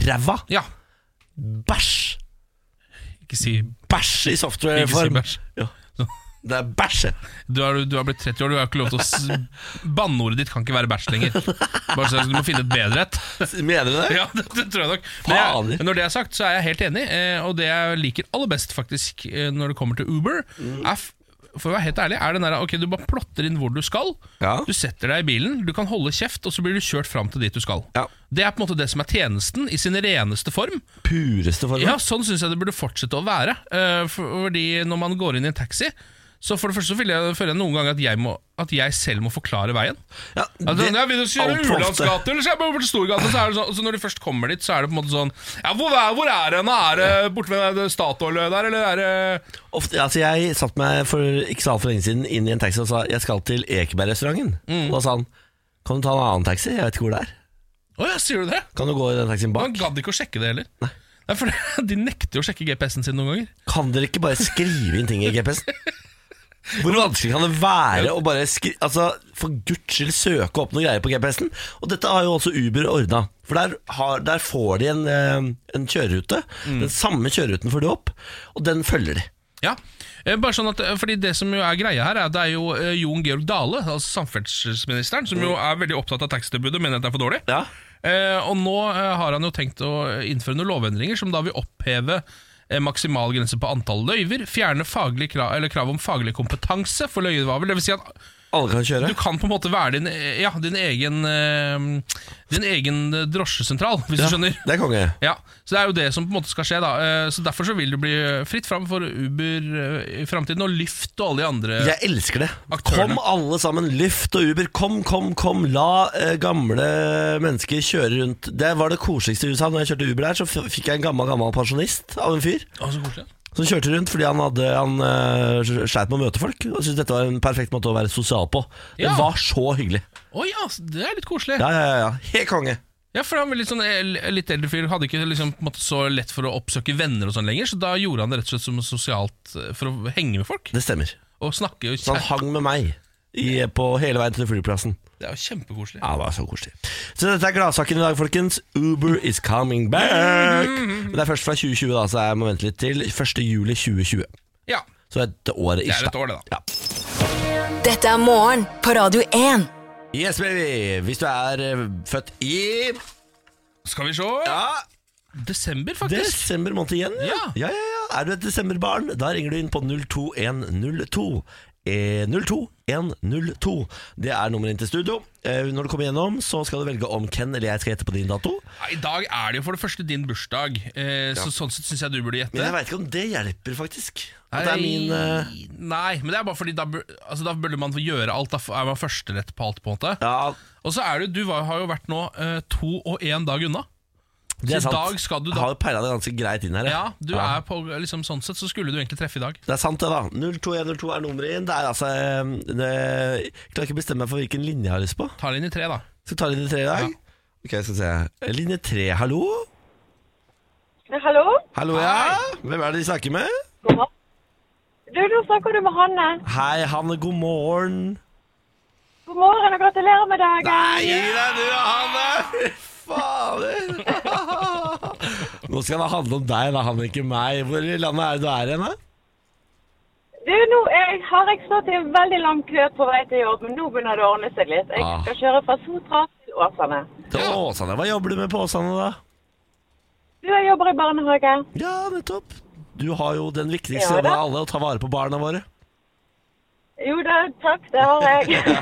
S1: ræva.
S2: ja.
S1: Bæsj.
S2: Ikke si
S1: bæsj i softwareform.
S2: Ikke si bæsj.
S1: Ja. Det er bæsj.
S2: du har, du har blitt 30 år, du har ikke lov til å s Banneordet ditt kan ikke være bæsj lenger. Bare så Du må finne et bedre et.
S1: Mener du det?
S2: Ja, det, det tror jeg nok. Men jeg,
S1: Fader.
S2: men når det er sagt, så er jeg helt enig. eh, Og det jeg liker aller best faktisk eh, når det kommer til Uber,
S1: Mm.
S2: er f- for å være helt ærlig, er den der, ok, du bare plotter inn hvor du skal.
S1: Ja.
S2: Du setter deg i bilen, du kan holde kjeft, og så blir du kjørt fram til dit du skal.
S1: Ja.
S2: Det er på en måte det som er tjenesten i sin reneste form.
S1: Pureste form.
S2: Ja, sånn syns jeg det burde fortsette å være. Eh, for- Fordi når man går inn i en taxi, så for det første så vil jeg, føler jeg noen ganger at jeg, må, at jeg selv må forklare veien.
S1: Ja,
S2: Ja,
S1: det-
S2: sånn, ja, vil du kjøre
S1: altfor ofte.
S2: Ulandsgata, eller skal jeg bare bort til Storgata? Så er det sånn, og så når de først kommer dit, så er det på en måte sånn Ja, hvor er, hvor er den? Er det borte ved det Statoil der, eller er det
S1: Ofte, altså jeg satt meg for ikke så altfor lenge siden inn i en taxi og sa jeg skal til Ekebergrestauranten.
S2: Mm.
S1: Og da sa han kan du ta en annen taxi, jeg vet ikke hvor det er.
S2: Å ja, sier du det?
S1: Kan du gå i den taxien
S2: Han
S1: bak?
S2: gadd ikke å sjekke det heller. Nei. Nei, for [LAUGHS] De nekter jo å sjekke GPS-en sin noen ganger.
S1: Kan dere ikke bare skrive inn ting i GPS-en? Hvor vanskelig kan det være å bare skri altså, for guds skyld søke opp noen greier på GPS-en? Og dette har jo også Uber ordna. For der, har, der får de en, eh, en kjørerute.
S2: Mm.
S1: Den samme kjøreruten får de opp, og den følger de.
S2: Ja, eh, bare sånn at eh, Fordi Det som jo er greia her, er at det er jo eh, Jon Georg Dale, altså samferdselsministeren, som jo er veldig opptatt av taxitilbudet, mener at det er for dårlig.
S1: Mm. Ja.
S2: Eh, og nå eh, har han jo tenkt å innføre noen lovendringer som da vil oppheve eh, maksimal grense på antall løyver, fjerne faglig krav, eller krav om faglig kompetanse for løyvehaver. Det vil si at
S1: Alle kan kjøre.
S2: du kan på en måte være din, eh, ja, din egen eh, Din egen eh, drosjesentral, hvis
S1: Ja,
S2: du skjønner.
S1: Det er konge.
S2: Ja, så Det er jo det som på en måte skal skje. da Eh, Så Derfor så vil det bli fritt fram for Uber eh, i framtiden, og Lyft og alle de andre.
S1: Jeg elsker det.
S2: Aktørene.
S1: Kom alle sammen, Lyft og Uber. Kom, kom, kom. La eh, gamle mennesker kjøre rundt. Det var det koseligste i USA. Når jeg kjørte Uber der, så f- fikk jeg en gammel gammel pensjonist av en fyr
S2: Å, så koselig.
S1: som kjørte rundt fordi han, hadde, han eh, sleit med å møte folk. Og syntes dette var en perfekt måte å være sosial på. Det
S2: Ja.
S1: var så hyggelig.
S2: Å ja, så det er litt koselig. Ja,
S1: Ja, ja, ja, ja. Helt konge.
S2: for han var litt, sånn, el- litt eldre fyr, hadde ikke liksom, på en måte, så lett for å oppsøke venner og sånn lenger, så da gjorde han det rett og slett som sosialt eh, for å henge med folk.
S1: Det stemmer.
S2: Og snakke og
S1: Så han
S2: kjære.
S1: hang med meg i, på hele veien til flyplassen.
S2: Det er jo kjempekoselig.
S1: Ja, det var så koselig. Så dette er gladsaken i dag, folkens. Uber is coming
S2: [LAUGHS]
S1: back! Men det er først fra 2020, da, så jeg må vente litt til. 1. juli 2020.
S2: Ja.
S1: Så det er et år
S2: Det er
S1: ish,
S2: et år, det, da.
S1: Ja.
S3: Dette er morgen på Radio 1.
S1: Yes, baby! Hvis du er eh, født i
S2: Skal vi se
S1: ja,
S2: Desember, faktisk.
S1: desember måned igjen,
S2: Ja.
S1: ja, ja, ja. Er du et desemberbarn, da ringer du inn på 02102. Eh, 02102. Det er nummeret inn til studio. Eh, når du kommer gjennom, så skal du velge om Ken eller jeg skal gjette på din dato.
S2: Ja, I dag er det jo for det første din bursdag, eh, så sånn sett syns jeg du burde gjette.
S1: Men jeg veit ikke om det hjelper, faktisk. At det er min eh,
S2: Nei, Nei, men det er bare fordi da, bur- altså, da burde man få gjøre alt. Da f- er man førsterett på alt, på en måte.
S1: Ja,
S2: Og så er du, du var, har jo vært nå eh, to og én dag unna.
S1: det er
S2: Så
S1: sant.
S2: i dag skal du da-
S1: Jeg har jo peila det ganske greit inn her. jeg.
S2: Ja, du
S1: Ja.
S2: er på liksom Sånn sett så skulle du egentlig treffe i dag.
S1: Det er sant, det, da. 02102 er nummeret inn. Det er altså eh, det, Jeg klarer ikke å bestemme meg for hvilken linje jeg har lyst på.
S2: Ta den inn i tre, da.
S1: Skal vi ta linje tre i dag? Ok, skal vi se. Linje tre, hallo?
S5: Hallo?
S1: Hallo, ja. Hvem er det de snakker med?
S5: God morgen. Du, nå snakker du med Hanne.
S1: Hei, Hanne, god morgen.
S5: God morgen og gratulerer med dagen.
S1: Nei, gi deg du, Hanne! Fy Fader. [LAUGHS] Nå skal det handle om deg, da, Hanne, ikke meg. Hvor i landet er det du er hen, da?
S5: Du, nå er, har jeg stått i en veldig lang kø på vei til jobb, men nå begynner det å ordne seg litt. Jeg
S1: Ah.
S5: skal kjøre fra Sotra til Åsane.
S1: Til Åsane. Hva jobber du med på Åsane, da?
S5: Du, jeg jobber i barnehage.
S1: Ja, nettopp. Du har jo den viktigste
S5: Ja,
S1: jobben
S5: da.
S1: av alle, å ta vare på barna våre.
S5: Jo da, takk, det har
S1: [LAUGHS]
S5: jeg.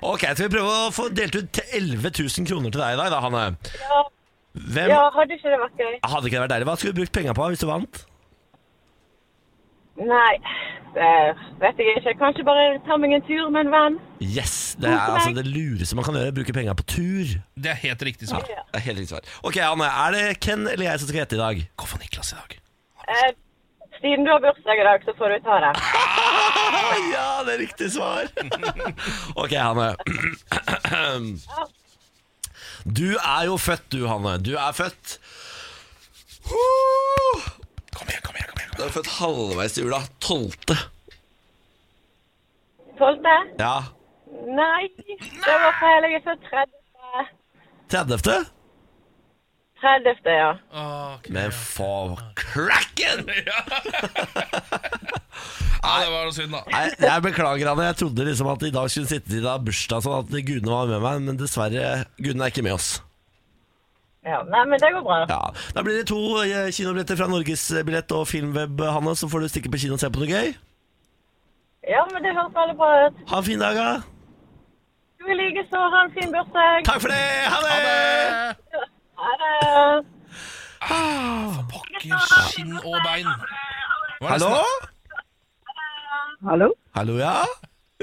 S1: Ok, skal vi prøve å få delt ut til 11 000 kroner til deg i dag, da, Hanne?
S5: Ja,
S1: Hvem
S5: ja hadde ikke det vært gøy?
S1: Hadde ikke det vært deilig? Hva skulle du brukt penga på hvis du vant?
S5: Nei, eh, vet jeg ikke. Kanskje bare ta meg en tur med en venn.
S1: Yes! Det er
S5: Kose meg.
S1: altså det lureste man kan gjøre, bruke penga på tur.
S2: Det er helt riktig svar.
S5: Ja.
S1: Det er helt riktig svar. Ok, Hanne, er det Ken eller jeg som skal gjette i dag?
S2: Gå for Niklas i dag.
S5: Eh, siden du har bursdag i dag, så får du ta det.
S1: Ah, ja, det er riktig svar! [LAUGHS] ok, Hanne. [CLEARS THROAT] Du er jo født, du, Hanne. Du er født
S2: Kom igjen, kom igjen. kom igjen
S1: Du er født halvveis til jula. Tolvte.
S5: Tolvte?
S1: Ja.
S5: Nei, det var feil. Jeg er født 30.
S1: Tredjefte.
S5: 30. ja.
S2: Åh, ok. [LAUGHS]
S1: Men få cracken!
S2: Ja, det var noe synd, da.
S1: Nei, jeg beklager, Anne. Jeg trodde liksom at i dag skulle sitte til det er bursdag, sånn at gudene var med meg, men dessverre, gudene er ikke med oss.
S5: ja. Nei, men det går bra.
S1: Ja, Da blir det to eh, kinobilletter fra Norgesbillett og Filmweb, eh, Hanne, så får du stikke på kino og se på noe gøy.
S5: Ja, men det høres veldig bra ut.
S1: Ha en fin dag, da.
S5: Du i like så. Ha en fin bursdag.
S1: Takk for det! Ha det!
S5: Ha det.
S2: Pokker, skinn og bein. [LAUGHS] Var det
S1: Hallo?
S2: nesten-
S6: Hallo?
S1: Hallo, ja?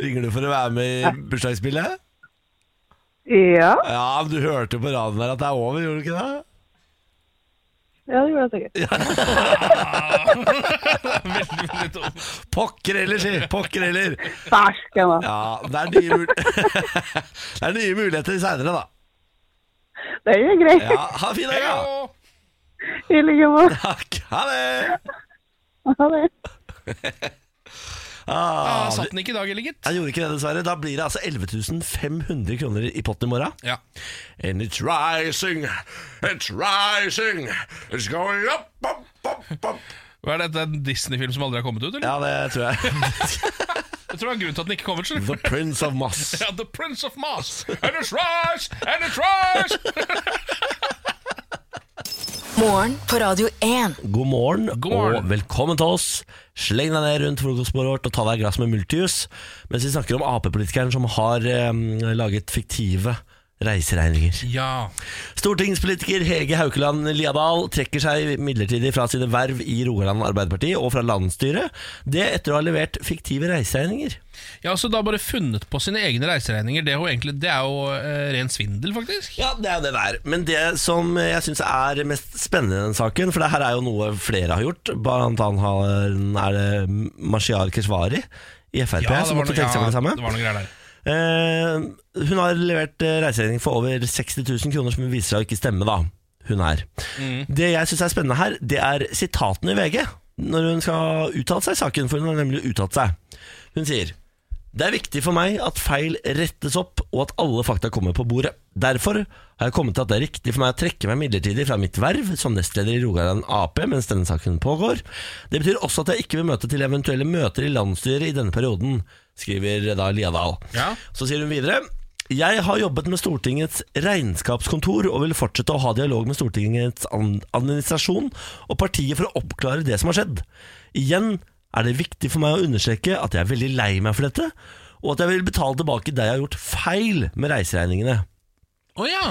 S1: Ringer du for å være med i bursdagsspillet?
S6: Ja,
S1: Ja, men du hørte jo på radioen der at det er over, gjorde du ikke det?
S6: ja det gjorde jeg sikkert.
S2: Veldig, veldig dumt.
S1: Pokker heller, si! Pokker heller!
S6: Fersken, da.
S1: Ja, det er nye, mul [LAUGHS] det er nye muligheter seinere, da.
S6: Det er jo greit.
S1: Ja, ha en fin dag, da!
S2: Hallo.
S6: I like måte.
S1: Takk, ha det!
S6: Ha det.
S1: Ah,
S2: Ah, satt den ikke i dag, eller gitt?
S1: jeg gjorde ikke det, dessverre. Da blir det altså 11 500 kroner i potten i morgen.
S2: Ja.
S1: And it's rising, it's rising, it's going up, up, up, up.
S2: Hva er dette, en Disney-film som aldri har kommet ut, eller?
S1: Ja, det tror jeg. [LAUGHS]
S2: Jeg tror det er grunnen til at den ikke kommer ut. skjønner du?
S1: The Prince of Moss.
S2: Ja, The Prince of Mars, and it's rise, and it's rise!
S3: Morgen på Radio 1.
S1: God morgen,
S2: God morgen.
S1: og velkommen til oss. Sleng deg ned rundt frokostbordet vårt og ta deg et glass med multijus. Mens vi snakker om Ap-politikeren som har eh, laget fiktive reiseregninger.
S2: [LAUGHS] Ja,
S1: Stortingspolitiker Hege Haukeland Liadal trekker seg midlertidig fra sine verv i Rogaland Arbeiderparti og fra landsstyret. Det etter å ha levert fiktive reiseregninger.
S2: ja så da bare funnet på sine egne reiseregninger. Det er jo, egentlig, det er jo eh, ren svindel, faktisk.
S1: Ja, det er jo det det er. Men det som jeg syns er mest spennende i den saken, for det her er jo noe flere har gjort, blant annet har- er det Mashiar Keshvari i Frp
S2: Ja,
S1: som måtte trekke seg
S2: ja,
S1: fra det samme.
S2: det var noen greier der.
S1: Eh, hun har levert eh, reiseregning for over 60 000 kroner, som viser seg å ikke stemme, da. Hun er. Det jeg syns er spennende her, det er sitatene i VG når hun skal uttale seg i saken, for hun har nemlig uttalt seg. Hun sier det er viktig for meg at feil rettes opp, og at alle fakta kommer på bordet. Derfor har jeg kommet til at det er riktig for meg å trekke meg midlertidig fra mitt verv som nestleder i Rogaland Ap mens denne saken pågår. Det betyr også at jeg ikke vil møte til eventuelle møter i landsstyret i denne perioden, skriver da Liadal.
S2: Ja.
S1: Så sier hun videre jeg har jobbet med Stortingets regnskapskontor og vil fortsette å ha dialog med Stortingets an- administrasjon og partiet for å oppklare det som har skjedd. Igjen er det viktig for meg å understreke at jeg er veldig lei meg for dette, og at jeg vil betale tilbake det jeg har gjort feil med reiseregningene.
S2: Å ja.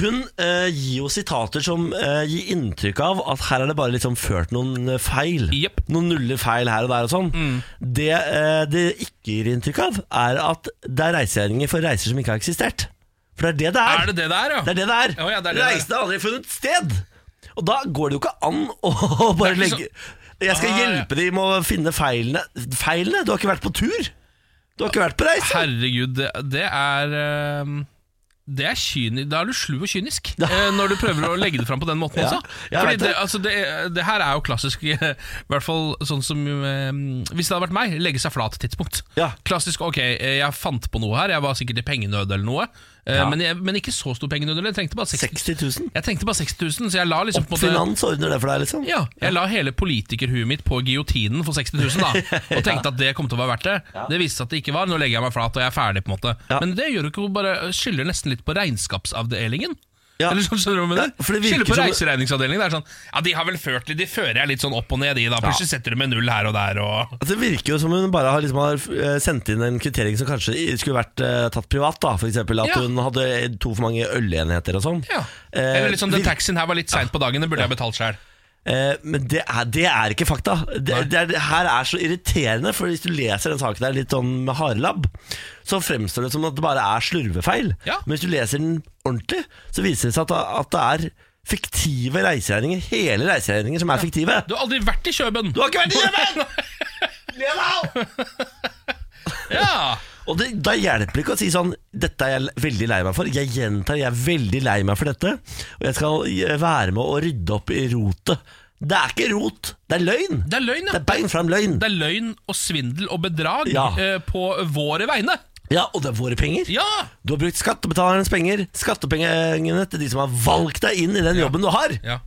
S1: Hun eh, gir jo sitater som eh, gir inntrykk av at her er det bare liksom ført noen eh, feil.
S2: Jepp.
S1: Noen nulle feil her og der og sånn.
S2: Mm.
S1: Det eh, det ikke gir inntrykk av, er at det er reiseregninger for reiser som ikke har eksistert. For det er det det er.
S2: Er det det der, ja?
S1: Det er det det er.
S2: Ja, ja, det er det det er.
S1: Reisen har aldri funnet sted. Og da går det jo ikke an [LAUGHS] å bare
S2: Det er ikke
S1: legge Jeg skal
S2: Ah, ja.
S1: hjelpe dem med å finne feilene. Feilene? Du har ikke vært på tur. Du har ikke vært på reise.
S2: Herregud, det, det er eh, det er kyni, Da er du slu og
S1: [LAUGHS]
S2: kynisk eh, når du prøver å legge det fram på den måten.
S1: Ja,
S2: Også.
S1: jeg
S2: Fordi
S1: vet
S2: det,
S1: det.
S2: altså det, det her er jo klassisk, [LAUGHS] i hvert fall sånn som eh, Hvis det hadde vært meg, legge seg flat tidspunkt.
S1: Ja.
S2: Klassisk ok, eh, jeg fant på noe her, jeg var sikkert i pengenød eller noe. eh,
S1: Ja.
S2: Men, jeg, men ikke så stor pengenød. eller Jeg trengte bare 60
S1: 60 000.
S2: Jeg trengte bare 60 000, så jeg la liksom på en måte-
S1: Finans ordner det for deg, liksom.
S2: ja, jeg la hele politikerhuet mitt på giotinen for 60
S1: [LAUGHS]
S2: 000 da, og tenkte at det kom til å være verdt det. Det viste seg at det ikke var. Nå legger jeg meg flat og jeg er ferdig. på en måte
S1: Ja.
S2: Men det gjør du ikke, hun bare skylder nesten litt på regnskapsavdelingen.
S1: Ja.
S2: Eller sånn, skjønner du hva jeg
S1: Ja, for det
S2: mener?
S1: virker
S2: Skylder på
S1: som-
S2: reiseregningsavdelingen. Det er sånn, ja, De har vel ført litt, de fører jeg litt sånn opp og ned i, da. Plutselig setter du med null her og der og
S1: Altså, Det virker jo som hun bare har, liksom, har eh, sendt inn en kvittering som kanskje skulle vært eh, tatt privat. da For eksempel at
S2: Ja.
S1: hun hadde to for mange ølenheter og sånn.
S2: ja.
S1: Eh,
S2: Eller litt sånn, den
S1: vir-
S2: taxien her var litt seint på dagen, den burde jeg betalt sjøl.
S1: eh, men det er, det er ikke fakta. Det, det er, det her er så irriterende, for hvis du leser den saken der litt sånn med harelabb, så fremstår det som at det bare er slurvefeil.
S2: Ja.
S1: Men hvis du leser den ordentlig, så viser det seg at, at det er fiktive reiseregninger. Hele reiseregninger som er fiktive.
S2: Du har aldri vært i Kjøben!
S1: Du har ikke vært i Jemen!
S2: [LAUGHS] Ja!
S1: Og det, Da hjelper det ikke å si sånn Dette er jeg veldig lei meg for. Jeg gjentar, jeg er veldig lei meg for dette. Og jeg skal eh, være med å rydde opp i rotet. Det er ikke rot, det er løgn.
S2: Det er løgn,
S1: Det
S2: ja.
S1: er bein fram løgn.
S2: Det er løgn og svindel og bedrag
S1: Ja.
S2: eh, på våre vegne.
S1: Ja, Og det er våre penger.
S2: Ja!
S1: Du har brukt skattebetalernes penger, skattepengene til de som har valgt deg inn i den jobben du har.
S2: Ja.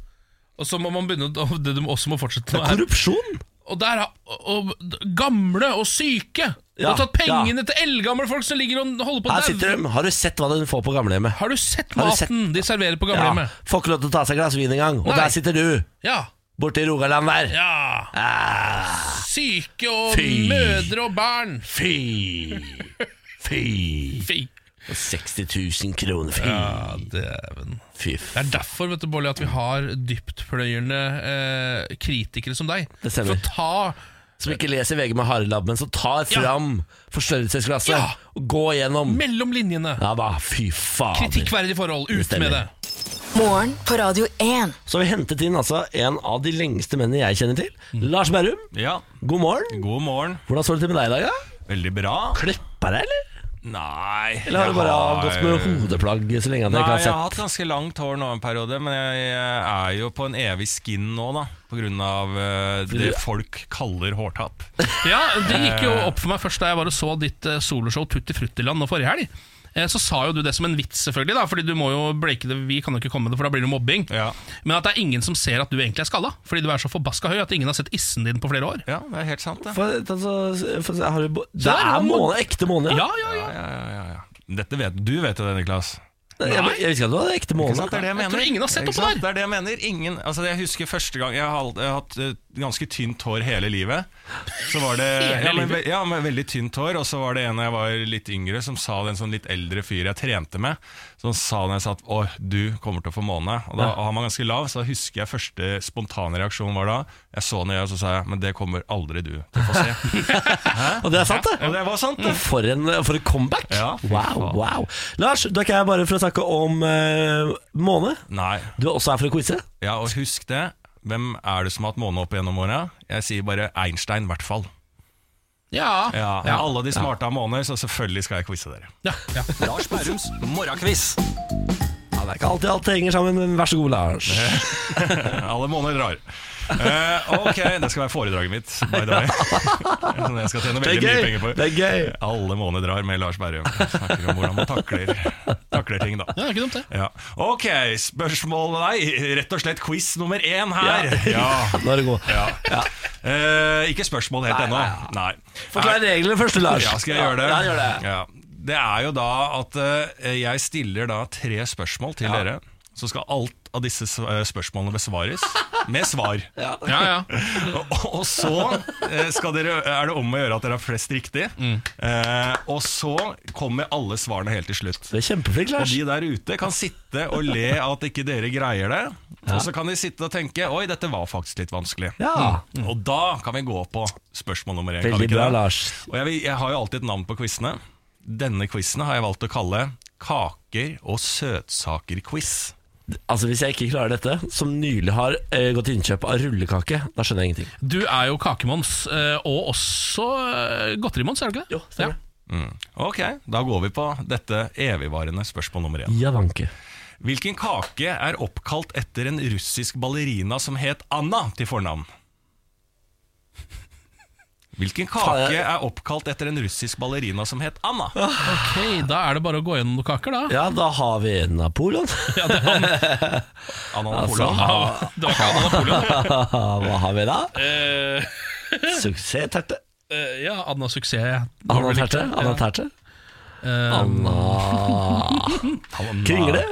S2: Og så må man begynne å- og Det du også må fortsette
S1: Det
S2: med
S1: er
S2: er
S1: korrupsjon.
S2: Og der har og, d- gamle og syke
S1: Ja,
S2: Og tatt pengene til eldgamle folk som ligger og holder på
S1: Her
S2: å
S1: sitter
S2: daue.
S1: de. Har du sett hva de får på gamlehjemmet?
S2: Har du sett
S1: Har du
S2: maten
S1: sett-
S2: de serverer på
S1: Ja,
S2: gamlehjemmet?
S1: får ikke lov til å ta seg et glass vin engang. Og
S2: Nei.
S1: der sitter du,
S2: Ja.
S1: borte i Rogaland der.
S2: ja.
S1: Ah.
S2: Syke og
S1: Fy.
S2: mødre og barn.
S1: Fy!
S2: [LAUGHS]
S1: Fy!
S2: Fy.
S1: 60 000 kroner, fy!
S2: Ja, dæven.
S1: fy.
S2: Det er derfor vet du, Bolli, at vi har dyptpløyende eh, kritikere som deg.
S1: Det stemmer.
S2: For å ta
S1: Som ikke leser VG med harelabb, men som tar
S2: Ja.
S1: fram forstørrelsesglasset
S2: Ja.
S1: og går gjennom.
S2: mellom linjene.
S1: Ja da, fy fader.
S2: Kritikkverdige forhold.
S1: Det
S2: Ut
S1: stemmer.
S2: med det.
S3: Morgen på Radio 1.
S1: Så har vi hentet inn altså en av de lengste mennene jeg kjenner til. Lars Berrum,
S7: Mm. Ja,
S1: god morgen.
S7: god morgen.
S1: Hvordan står det til med deg i dag? da?
S7: Veldig bra.
S1: Klepper deg, eller?
S7: Nei.
S1: Eller har
S7: jeg
S1: du bare
S7: har- eh,
S1: gått med hodeplagg så lenge at
S7: Nei,
S1: jeg ikke har
S7: jeg har
S1: sett
S7: hatt ganske langt hår nå en periode, men jeg er jo på en evig skin nå, da. På grunn av eh, det folk kaller hårtap.
S2: Ja, Det gikk jo opp for meg først da jeg var og så ditt eh, soloshow Tutti Fruttiland nå forrige helg. Eh, Så sa jo du det som en vits, selvfølgelig, da Fordi du må jo breake det. Vi kan jo ikke komme med det, for da blir det mobbing.
S7: Ja.
S2: Men at det er ingen som ser at du egentlig er skalla, fordi du er så forbaska høy at ingen har sett issen din på flere år.
S7: Ja, det er helt sant, det.
S1: for, altså, for, har du, bo- Det
S2: der har
S1: er
S2: man-
S1: måne, ekte måne.
S2: Ja, ja, ja.
S7: Ja, ja, ja, ja, ja. Dette vet, du vet jo det, Niklas.
S1: Jeg, jeg visste ikke at du hadde ekte
S7: Ikke
S1: måne.
S7: sant? Det er det
S2: Jeg
S7: jeg mener.
S2: tror ingen har sett
S7: Ikke
S2: opp der.
S7: sant? Det er det jeg mener. Ingen, altså jeg husker første gang Jeg har, alt- jeg har hatt eh, ganske tynt hår hele livet. Så var det,
S2: Hele
S7: ja, men,
S2: livet?
S7: ve- ja, men veldig tynt hår. Og så var det en da jeg var litt yngre, som sa det en sånn litt eldre fyr jeg trente med. Som sa når jeg sa at Å, du kommer til å få måne. Og da har man ganske lav, så da husker jeg første spontane reaksjon var da. Jeg så den i øyet, og så sa jeg men det kommer aldri du til å få se.
S1: Og det er sant, det. Mm.
S7: Og det var sant, det.
S1: For en, for et comeback!
S7: Ja, fy
S1: wow,
S7: faen.
S1: wow Lars, da er ikke jeg bare for å snakke om eh, måne.
S7: Nei.
S1: Du er også her for å quize.
S7: Ja, og husk det. Hvem er det som har hatt måne opp gjennom åra? Jeg sier bare Einstein, i hvert fall.
S2: ja.
S7: Ja, alle de smarte har måner, så selvfølgelig skal jeg quize dere.
S2: ja. ja.
S7: Lars Bærums morgenkviz.
S1: Ja, det er ikke alltid alt henger sammen, men vær så god,
S7: [LAUGHS]
S1: Lars.
S7: Alle måner drar. Eh, ok, det skal være foredraget mitt, by the way. Som jeg skal tjene
S1: Det er
S7: veldig mye penger
S1: gøy!
S7: på.
S1: Det er gøy.
S7: Alle måner drar med Lars Bærum. Jeg Snakker om hvordan man takler, takler ting, da.
S2: det er ikke dumt, det.
S7: Ja. Ok, spørsmål Nei, rett og slett quiz nummer én her. [LAUGHS] Ja.
S1: [LAUGHS] Nå er det god.
S7: Ja. Eh, ikke spørsmål helt
S1: Nei,
S7: ennå.
S1: nei,
S7: Nei.
S1: Forklar reglene først, Lars.
S7: Ja, skal jeg gjøre det?
S1: Ja, gjør det.
S7: Ja. Det er jo da at eh, jeg stiller da tre spørsmål til dere. Så skal alt av disse s- eh, spørsmålene besvares med
S1: [LAUGHS]
S7: svar.
S2: Ja, ja.
S7: Og, og så eh, skal dere, er det om å gjøre at dere har flest riktig.
S1: Mm.
S7: Eh, og så kommer alle svarene helt til slutt.
S1: Du er kjempeflink,
S7: Og
S1: Lars.
S7: de der ute kan sitte og le av at ikke dere greier det. Og så kan de sitte og tenke Oi, dette var faktisk litt vanskelig.
S1: Ja.
S7: Mm. Og da kan vi gå på spørsmål nummer én. kan vi
S1: Veldig
S7: ikke
S1: bra,
S7: det?
S1: Lars.
S7: Og jeg, vil- jeg har jo alltid et navn på quizene. Denne quizen har jeg valgt å kalle Kaker og søtsaker-quiz.
S1: Altså, Hvis jeg ikke klarer dette, som nylig har eh, gått til innkjøp av rullekake, da skjønner jeg ingenting.
S2: Du er jo kakemons, eh, og også eh, godterimons, er du ikke det?
S1: stemmer.
S7: Ok, da går vi på dette evigvarende spørsmål nummer én.
S1: Ja, vanke.
S7: Hvilken kake er oppkalt etter en russisk ballerina som het Anna til fornavn? Hvilken
S1: Faen,
S7: kake
S1: jeg-
S7: er oppkalt etter en russisk ballerina som het Anna?
S2: Ok, Da er det bare å gå gjennom noen kaker,
S1: [LAUGHS]
S2: da.
S1: Ja, da har vi Napoleon. [LAUGHS]
S7: Anna
S1: Altså,
S7: Napoleon.
S1: ha,
S2: Det var ikke Anna
S1: [LAUGHS]
S2: Napoleon.
S1: hva har vi da?
S2: Eh,
S1: Suksessterte.
S2: eh, ja, Anna Suksess.
S1: Anna Terte. Anna Terte.
S2: Eh,
S1: [LAUGHS] Kringle.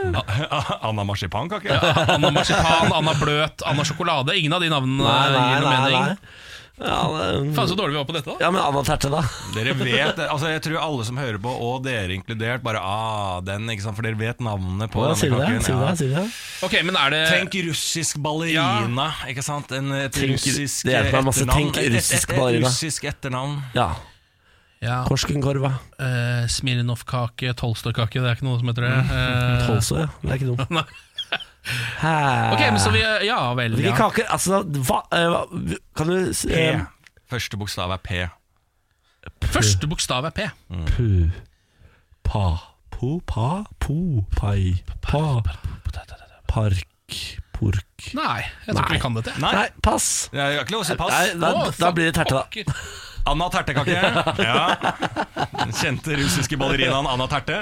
S7: Anna marsipankake?
S1: [LAUGHS]
S2: Anna Marsipan, Anna Bløt, Anna Sjokolade. Ingen av de navnene
S1: Nei, nei,
S2: gir noe
S1: nei.
S2: mening.
S1: nei. Ja, det-
S2: Faen, så dårlig vi var på dette, da.
S1: ja, men Anna Terte, da.
S7: Dere vet, altså Jeg tror alle som hører på, og dere inkludert, bare ah, den, ikke sant? For dere vet navnet på
S1: Hva
S7: denne
S1: sier du det?
S7: kaken.
S1: Sier du
S7: ja.
S1: det? Sier du det?
S2: Ok, men er det
S7: Tenk russisk ballerina, ikke sant? En, et
S1: Tenk-
S7: russisk
S1: det hjelper meg masse.
S7: etternavn.
S1: Tenk
S7: Et- et-
S1: russisk
S7: et-
S1: ballerina.
S7: Et russisk etternavn.
S1: Ja.
S2: ja,
S1: Korskenkorva.
S2: eh, Smirnov-kake, Tolstoy-kake, det er ikke noe som heter det. Eh, [LAUGHS]
S1: Tolso, ja. Det er ikke dumt.
S2: Nei.
S1: Hæ.
S2: ok, men så vi eh, Ja vel,
S1: Hvilke
S2: ja.
S1: kaker Altså, hva eh, hva- Kan du s-
S7: P.
S1: eh,
S7: Første bokstav er P.
S2: Første bokstav er P.
S1: Pu. Pa. Po. Pa. Po. Pai. Pa. Park. Pork.
S2: Nei, jeg tror ikke vi kan dette.
S7: Nei,
S1: Nei, pass.
S7: jeg har ikke lov til å si
S1: Nei,
S7: pass.
S1: da,
S2: Å,
S1: da blir det terte, da.
S2: pokker.
S7: Anna
S1: [LAUGHS]
S7: Tertekake. Ja. Den kjente russiske ballerinaen Anna Terte.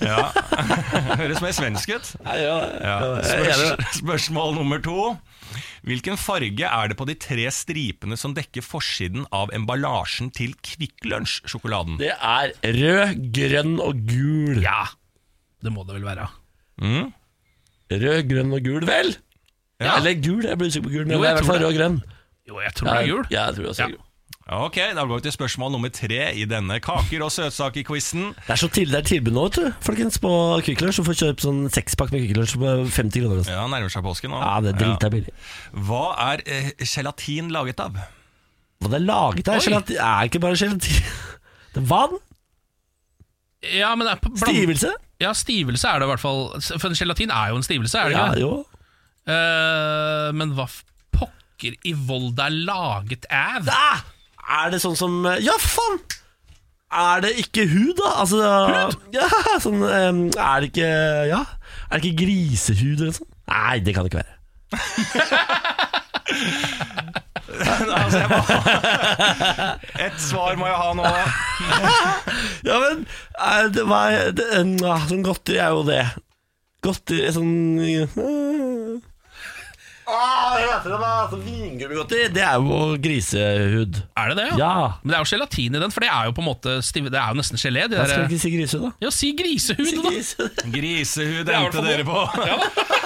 S7: Ja. [LAUGHS] Høres mer svensk ut. Ja. Spørs, spørsmål nummer to. Hvilken farge er det på de tre stripene som dekker forsiden av emballasjen til Kvikk Lunsj-sjokoladen?
S1: Det er rød, grønn og gul.
S2: Ja, det må det vel være.
S1: Rød, grønn og gul, vel?
S7: Mm. Ja.
S1: Eller gul, jeg blir usikker på gul. Men
S2: Jo,
S1: det er
S2: jeg
S1: i hvert
S2: tror
S1: fall
S2: det.
S1: rød og grønn.
S2: Jo, jeg tror det er jul.
S1: Ja, jeg tror også det er
S2: Ja.
S1: gul.
S7: Ok, Da går vi til spørsmål nummer tre i denne kaker- og søtsaker-quizen.
S1: Det er så tidlig, det er tilbud nå, vet du. Folkens, på Kvikk Lunsj. Du får kjøpe sånn sekspakk med Kvikk Lunsj på 50 kroner. Altså.
S7: Ja, nærmer seg påske nå.
S1: Ja, det er drita billig.
S7: Ja. Hva er eh, gelatin laget av?
S1: Hva det er laget av?
S2: Oi.
S1: Gelatin Det er ikke bare gelatin. [LAUGHS] Det er vann,
S2: Ja, men det er på bland-
S1: stivelse.
S2: Ja, stivelse er det i hvert fall. For en gelatin er jo en stivelse, er det
S1: Ja,
S2: ikke? det?
S1: jo.
S2: Eh, men hva f- pokker i vold det er laget av?
S1: Ah! Er det sånn som Ja, faen! Er det ikke hud, da? Altså, ja, [LAUGHS] sånn, em, er det ikke Ja, er det ikke grisehud eller noe sånt? Nei, det kan det ikke være.
S7: altså, jeg må- Et svar må jeg ha nå.
S1: Ja, men er det, hva er det, en, ah, Sånn godteri er jo det. Godteri sånn ah, jeg vet det, da. Sånn Vingummigodteri, det er jo grisehud.
S2: Er det det?
S1: Ja.
S2: Men det er jo gelatin i den, for det er jo på en måte stiv- Det er jo nesten gelé. De
S1: Jeg skal
S2: der,
S1: ikke si grisehud, da.
S2: ja, si grisehud, da!
S1: Grisehud.
S7: Grisehud
S2: er i
S7: endte
S2: hvert fall
S7: dere på.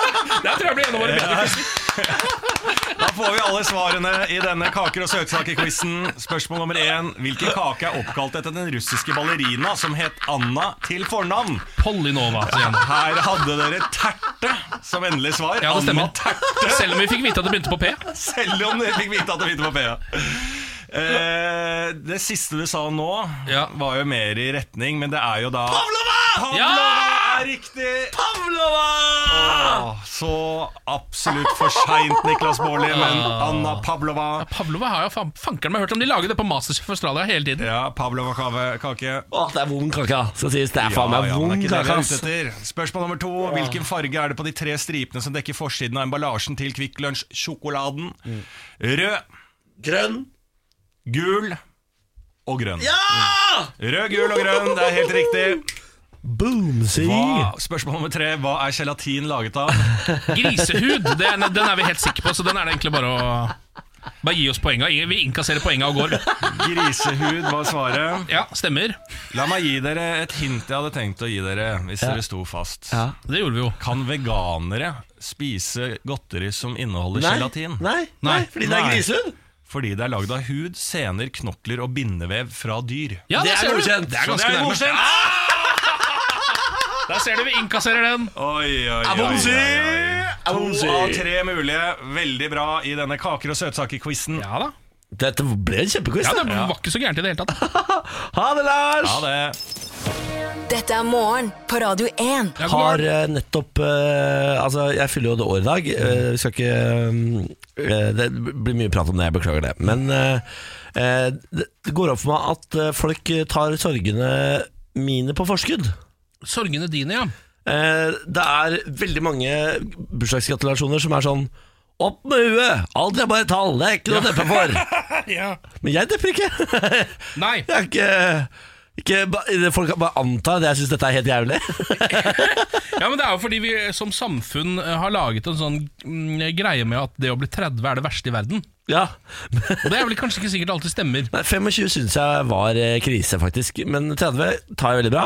S2: Der tror jeg blir en av våre bedre.
S7: Da får vi alle svarene i denne Kaker og søtsaker-quizen. Spørsmål nummer én. Hvilken kake er oppkalt etter den russiske ballerina som het Anna til fornavn?
S2: Pollinova. sier han.
S7: Her hadde dere terte som endelig svar.
S2: Ja, det stemmer.
S7: Anna Terte,
S2: Selv om vi fikk vite at det begynte på P.
S7: selv om dere fikk vite at det begynte på P. ja. Eh, det siste du sa nå,
S2: Ja.
S7: var jo mer i retning, men det er jo da Pavlova! Pavlova
S2: Ja!
S7: er riktig! Pavlova! Ah, så absolutt for seint, Niklas Baarli, men
S1: Ah.
S7: Anna Pavlova
S2: Pavlova har jo fan- fankeren meg hørt om. De lager det på Masterchef Australia hele tiden.
S7: Ja, Pavlova-kake.
S1: Åh, det er vond kake, ass. skal sies. Det er faen meg
S7: men det er
S1: vond
S7: ikke det vi
S1: kake,
S7: er
S1: ass. Ah.
S7: ute etter. Spørsmål nummer to. Hvilken farge er det på de tre stripene som dekker forsiden av emballasjen til Kvikk Lunsj-sjokoladen?
S1: Mm.
S7: Rød,
S1: Grønn.
S7: gul og grønn. Mm. Rød, gul og grønn, det er helt riktig.
S1: Boom, si.
S7: Hva, spørsmål nummer tre. Hva er gelatin laget av?
S2: Grisehud, det er, den er vi helt sikre på, så den er det egentlig bare å Bare gi oss poenga. Vi innkasserer poenga og går.
S7: Grisehud var svaret.
S2: Ja, stemmer.
S7: La meg gi dere et hint jeg hadde tenkt å gi dere hvis dere sto fast.
S1: Ja.
S2: Det gjorde vi jo.
S7: Kan veganere spise godteri som inneholder
S1: Nei,
S7: gelatin?
S1: nei, nei,
S7: Nei.
S1: fordi det er
S7: Nei.
S1: grisehud.
S7: Fordi det er lagd av hud, sener, knokler og bindevev fra dyr.
S2: Ja,
S1: Det
S2: der
S1: er
S2: ser du.
S1: godkjent.
S2: Det er
S7: Så det
S2: ganske
S7: er
S2: nærme.
S7: godkjent!
S2: Der ser du, vi innkasserer den.
S7: Oi, oi, oi, oi,
S1: Abonsi!
S7: oi. To
S1: Abonsi!
S7: av tre mulige. Veldig bra i denne kaker- og søtsaker-quizen.
S2: Ja da.
S1: Dette ble en kjempequiz.
S2: Ja,
S1: da.
S2: Det var ikke så gærent i det hele tatt.
S1: Ha det, Lars!
S7: Ha det.
S3: Dette er morgen på Radio 1.
S2: Ja, god
S1: har
S2: morgen.
S1: eh, nettopp eh, Altså, jeg fyller jo det år i dag.
S7: Mm.
S1: Eh, vi skal ikke eh, Det blir mye prat om det, jeg beklager det. Men eh, eh, det det går opp for meg at eh, folk tar sorgene mine på forskudd.
S2: Sorgene dine, [LAUGHS] ja.
S1: Eh, det er veldig mange bursdagsgratulasjoner som er sånn opp med huet! Alt er bare tall, det er ikke noe å deppe for! Men jeg depper ikke.
S2: Nei.
S1: Jeg er ikke, ikke ba- Folk kan bare anta at jeg syns dette er helt jævlig. [LAUGHS]
S2: Ja, men Det er jo fordi vi som samfunn eh, har laget en sånn mm, greie med at det å bli 30 er det verste i verden.
S1: Ja,
S2: Og det er vel kanskje ikke sikkert alltid stemmer.
S1: Nei, 25 syns jeg var eh, krise, faktisk. Men 30 tar jeg veldig bra.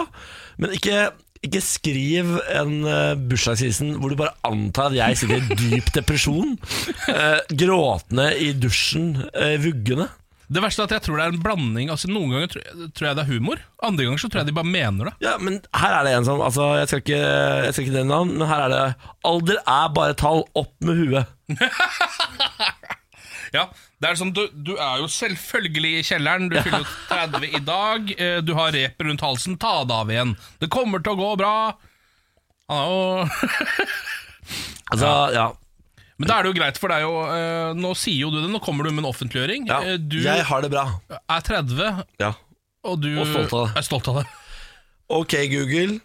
S1: Men ikke, ikke skriv en eh, bursdagshilsen hvor du bare antar at jeg sitter i dyp depresjon, [LAUGHS] eh, gråtende i dusjen, eh, vuggende.
S2: Det verste er at jeg tror det er en blanding. Altså Noen ganger tror jeg, tror jeg det er humor, andre ganger så tror jeg de bare mener det.
S1: Ja, men her er det en sånn altså, Jeg skal ikke, jeg skal ikke nevne navn, men her er det Alder er bare tall, opp med huet.
S2: Ja, det er sånn, du, du er jo selvfølgelig i kjelleren, du fyller jo 30 i dag, eh, du har rep rundt halsen, ta det av igjen. Det kommer til å gå bra. Han er jo
S1: Altså, ja.
S2: Men da er det jo greit, for det er jo eh, Nå sier jo du det, nå kommer du med en offentliggjøring.
S1: ja.
S2: Eh, Du
S1: Jeg har det bra.
S2: er 30,
S1: Ja.
S2: og du
S1: Og stolt av det.
S2: er stolt av det.
S1: Ok, Google.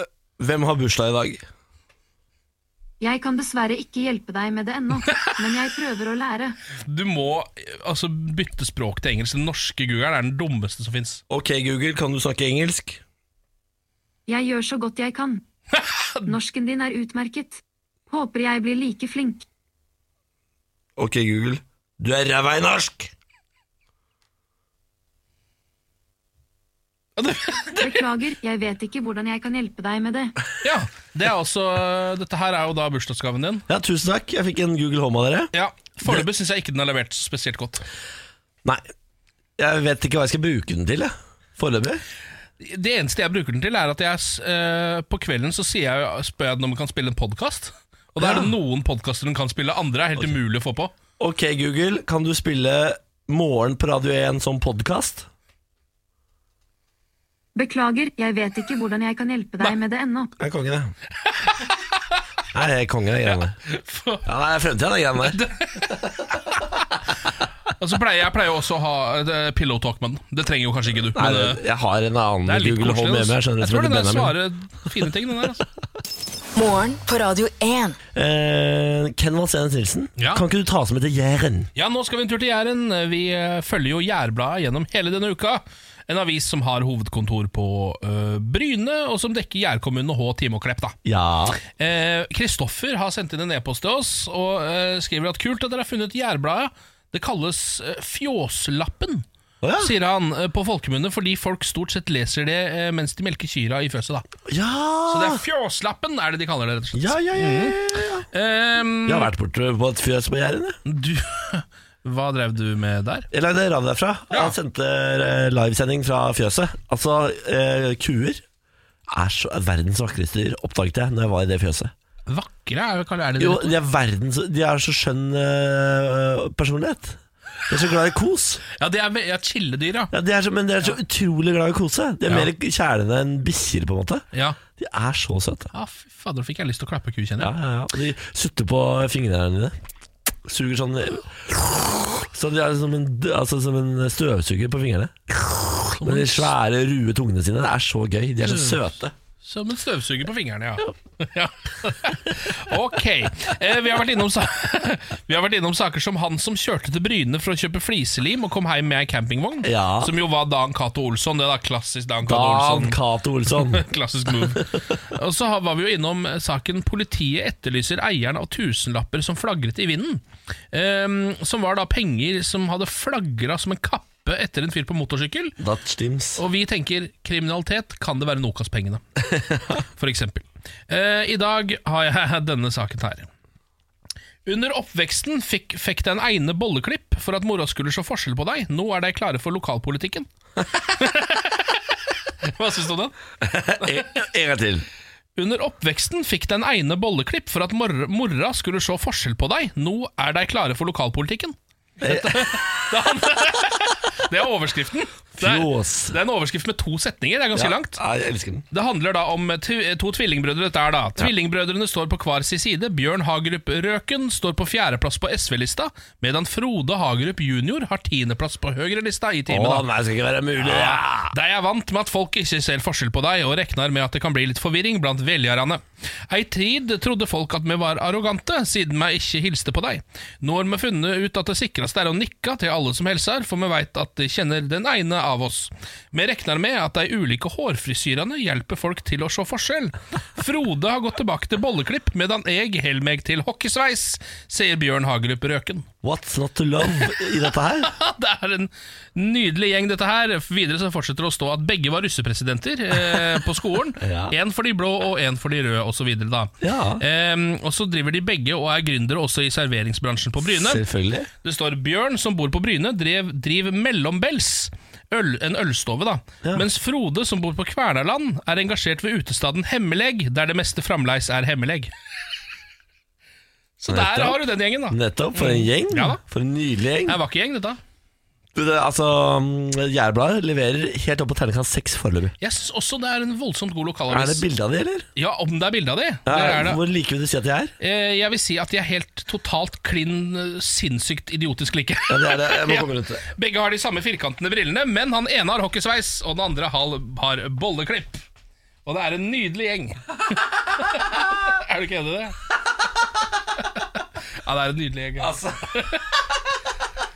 S1: Eh, Hvem har bursdag i dag?
S8: Jeg kan dessverre ikke hjelpe deg med det ennå,
S7: [LAUGHS]
S8: men jeg prøver å lære.
S2: Du må eh, altså, bytte språk til engelsk. Den norske googeren er den dummeste som fins.
S1: Ok, Google, kan du snakke engelsk?
S8: Jeg gjør så godt jeg
S7: [LAUGHS]
S8: kan. Norsken din er utmerket. Håper jeg blir like flink.
S1: Ok, Google. Du er ræva i norsk!
S8: Beklager, jeg vet ikke hvordan jeg kan hjelpe deg med det.
S2: [LAUGHS] Ja, det er også, dette her er jo da bursdagsgaven din.
S1: Ja, tusen takk. Jeg fikk en Google Home av dere.
S2: Ja, Foreløpig syns jeg ikke den er levert spesielt godt.
S1: Nei, jeg vet ikke hva jeg skal bruke den til, jeg. Foreløpig.
S2: Det eneste jeg bruker den til, er at jeg s- eh, på kvelden så sier jeg, spør jeg den om den kan spille en podkast. Og da er det noen podkaster hun kan spille, andre er helt umulig å få på.
S1: Ok, Google, kan du spille Morgen på Radio 1 som podkast?
S8: Beklager, jeg vet ikke hvordan jeg kan hjelpe deg med det ennå.
S1: Jeg er konge, det. Nei, jeg er konge, de greiene der. Ja, det er fremtiden, de greiene der.
S2: Altså, pleier, jeg pleier jo også å ha et, eh, pillow talk med den. Det trenger jo kanskje ikke du.
S1: Nei,
S2: Men, eh,
S1: jeg har en
S2: det er
S1: annen
S2: litt
S1: Google Home
S2: koselig.
S1: hjemme. Jeg
S2: altså.
S1: skjønner det
S2: Jeg
S1: som heter
S2: tror den der
S1: Benjamin.
S2: svarer fine ting, den der. Altså.
S3: Morgen på Radio 1.
S1: Eh, Ken Valsenes Nilsen,
S2: Ja.
S1: kan ikke du ta oss med til Jæren?
S2: [LAUGHS] Ja, nå skal vi en tur til Jæren. Vi eh, følger jo Jærbladet gjennom hele denne uka. En avis som har hovedkontor på eh, Bryne, og som dekker Jærkommunene Hå, Time og Klepp. da.
S1: Ja.
S2: Eh, Kristoffer har sendt inn en e-post til oss og eh, skriver at kult at dere har funnet Jærbladet. Det kalles eh, Fjåslappen, sier han eh, på folkemunne, fordi folk stort sett leser det eh, mens de melker kyrne i fjøset. da.
S1: Ja!
S2: Så det er Fjåslappen er det de kaller det, rett og slett.
S1: Ja, ja, ja, ja, ja.
S2: Ehm,
S1: Jeg har vært borte på et fjøs på Jæren. jeg.
S2: du, [LAUGHS] hva drev du med der?
S1: Jeg lagde radio derfra. Han sendte eh, livesending fra fjøset. Altså, eh, kuer er så, er verdens vakreste dyr, oppdaget jeg når jeg var i det fjøset.
S2: Vakre er, jo- er det det?
S1: Jo,
S2: heter?
S1: de er verdens De har så skjønn eh, personlighet. De er så glad i kos.
S2: Ja, det er, ve- ja, chilledyr, ja.
S1: Ja, de er så, men de er så utrolig glad i å kose. De er
S2: Ja.
S1: mer kjælende enn bikkjer, på en måte.
S2: Ja,
S1: De er så søte.
S2: ja fy fader, fikk jeg lyst til å klappe ku,
S1: Ja,
S2: kjenner jeg.
S1: ja, ja. Og de sutter på fingrene dine. Suger sånn Så de er som en, altså, som en støvsuger på fingrene. Med de svære, rue tungene sine. Det er så gøy. De er så søte.
S2: Som en støvsuger på fingrene, ja. [LAUGHS] ja. ok. Eh, vi, har vært innom sa [LAUGHS] vi har vært innom saker som han som kjørte til Bryne for å kjøpe fliselim og kom hjem med ei campingvogn,
S1: Ja.
S2: som jo var Dan Cato Olsson. Det er da klassisk Dan Cato
S1: Dan
S2: Olsson.
S1: Cato Olsson.
S2: [LAUGHS] Klassisk move. Og så har- var vi jo innom eh, saken 'Politiet etterlyser eieren av tusenlapper som flagret i vinden'. Ehm, som var da penger som hadde flagra som en kappe etter en fyr på motorsykkel.
S1: Dat stims.
S2: Og vi tenker kriminalitet, kan det være nok av pengene? For eksempel. Eh, I dag har jeg [LAUGHS] denne saken her. Under oppveksten fikk, fikk deg en egne bolleklipp for at mora skulle se forskjell på deg. Nå er de klare for lokalpolitikken. Hva syns du om den?
S1: En gang til.
S2: Under oppveksten fikk den ene bolleklipp for at mor morra skulle se forskjell på deg. Nå er de klare for lokalpolitikken.
S1: Eh.
S2: [LAUGHS] Dette, det, er, det er overskriften. Det er,
S1: Fjås.
S2: det er en overskrift med to setninger. Det er ganske langt.
S1: Ja, jeg elsker den.
S2: Det handler da om tv- to tvillingbrødre. Dette er da Tvillingbrødrene står på hver sin side. Bjørn Hagerup Røken står på fjerdeplass på SV-lista, medan Frode Hagerup jr. har tiendeplass på høyrelista i timen.
S1: Å
S2: da.
S1: nei, det skal ikke være mulig. Ja.
S2: De er vant med at folk ikke ser forskjell på deg, og regner med at det kan bli litt forvirring blant velgerne. Ei tid trodde folk at vi var arrogante, siden vi ikke hilste på deg. Nå har vi funnet ut at det sikreste er å nikke til alle som hilser, for vi veit at de kjenner den ene av oss. Vi regner med at de ulike hårfrisyrene hjelper folk til å se forskjell. Frode har gått tilbake til bolleklipp, medan jeg holder meg til hockeysveis, sier Bjørn Hagerup Røken.
S1: What's not to love i dette her?
S2: [LAUGHS] Ja, det er en nydelig gjeng, dette her. Videre så fortsetter det å stå at begge var russepresidenter eh, på skolen.
S1: [LAUGHS] Ja.
S2: Én for de blå og én for de røde, osv.
S1: Ja.
S2: Eh, og så driver de begge og er gründere også i serveringsbransjen på Bryne.
S1: Selvfølgelig.
S2: Det står Bjørn, som bor på Bryne, drev, driver mellombels. Øl, en ølstove, da. Mens Frode, som bor på Kvernaland, er engasjert ved utestaden Hemmelegg, der det meste fremleis er hemmelegg. [LAUGHS] Så der
S1: Nettopp.
S2: har du den gjengen, da.
S1: Nettopp. For en gjeng.
S2: Mm. Ja da.
S1: For en nydelig gjeng.
S2: Det er vakker gjeng, dette.
S1: Du, det, altså, mm, Jærbladet leverer helt opp på terningkast seks foreløpig.
S2: Jeg syns også det er en voldsomt god lokalavis.
S1: Er det bilde av de, eller?
S2: Ja, om det er bilde av de.
S1: Ja,
S2: Det er det.
S1: Hvor like vil du si at de er?
S2: Eh, Jeg vil si at de er helt totalt klin eh, sinnssykt idiotisk like.
S1: Ja, det er det. Jeg må
S2: Ja.
S1: komme rundt det.
S2: [LAUGHS] Begge har de samme firkantede brillene, men han ene har hockeysveis, og den andre hal- har bolleklipp. Og det er en nydelig gjeng. [LAUGHS] er du ikke enig i det? [LAUGHS] ja, det er en nydelig gjeng.
S1: Altså.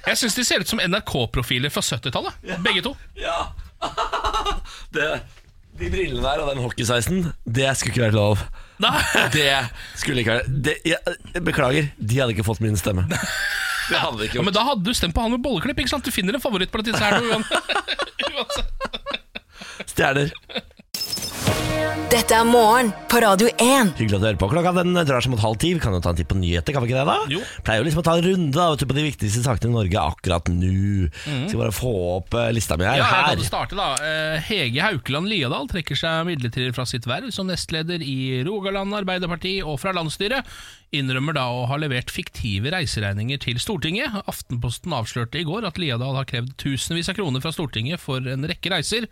S2: Jeg syns de ser ut som NRK-profiler fra 70-tallet, begge to.
S1: Ja. [LAUGHS] det, de brillene der og den hockeysveisen, det skulle ikke vært lov.
S2: Nei.
S1: Det skulle ikke vært det, jeg, jeg Beklager, de hadde ikke fått min stemme. Det hadde de ikke
S2: Ja, men da hadde du stemt på han med bolleklipp, ikke sant? Du finner en favoritt på disse
S1: [LAUGHS]
S2: her nå, uan- [LAUGHS] uansett.
S1: Stjerner.
S3: Dette er morgen på Radio 1.
S1: Hyggelig at du hører på. Klokka den drar seg mot halv ti. Vi kan jo ta en titt på nyheter, kan vi ikke det? da?
S2: Jo.
S1: Pleier jo liksom å ta en runde da, vet du, på de viktigste sakene i Norge akkurat nå. Skal bare få opp eh, lista mi her.
S2: Ja, jeg kan
S1: her.
S2: jo starte da Eh, Hege Haukeland Liadal trekker seg midlertidig fra sitt verv som nestleder i Rogaland Arbeiderparti og fra landsstyret. Innrømmer da å ha levert fiktive reiseregninger til Stortinget. Aftenposten avslørte i går at Liadal har krevd tusenvis av kroner fra Stortinget for en rekke reiser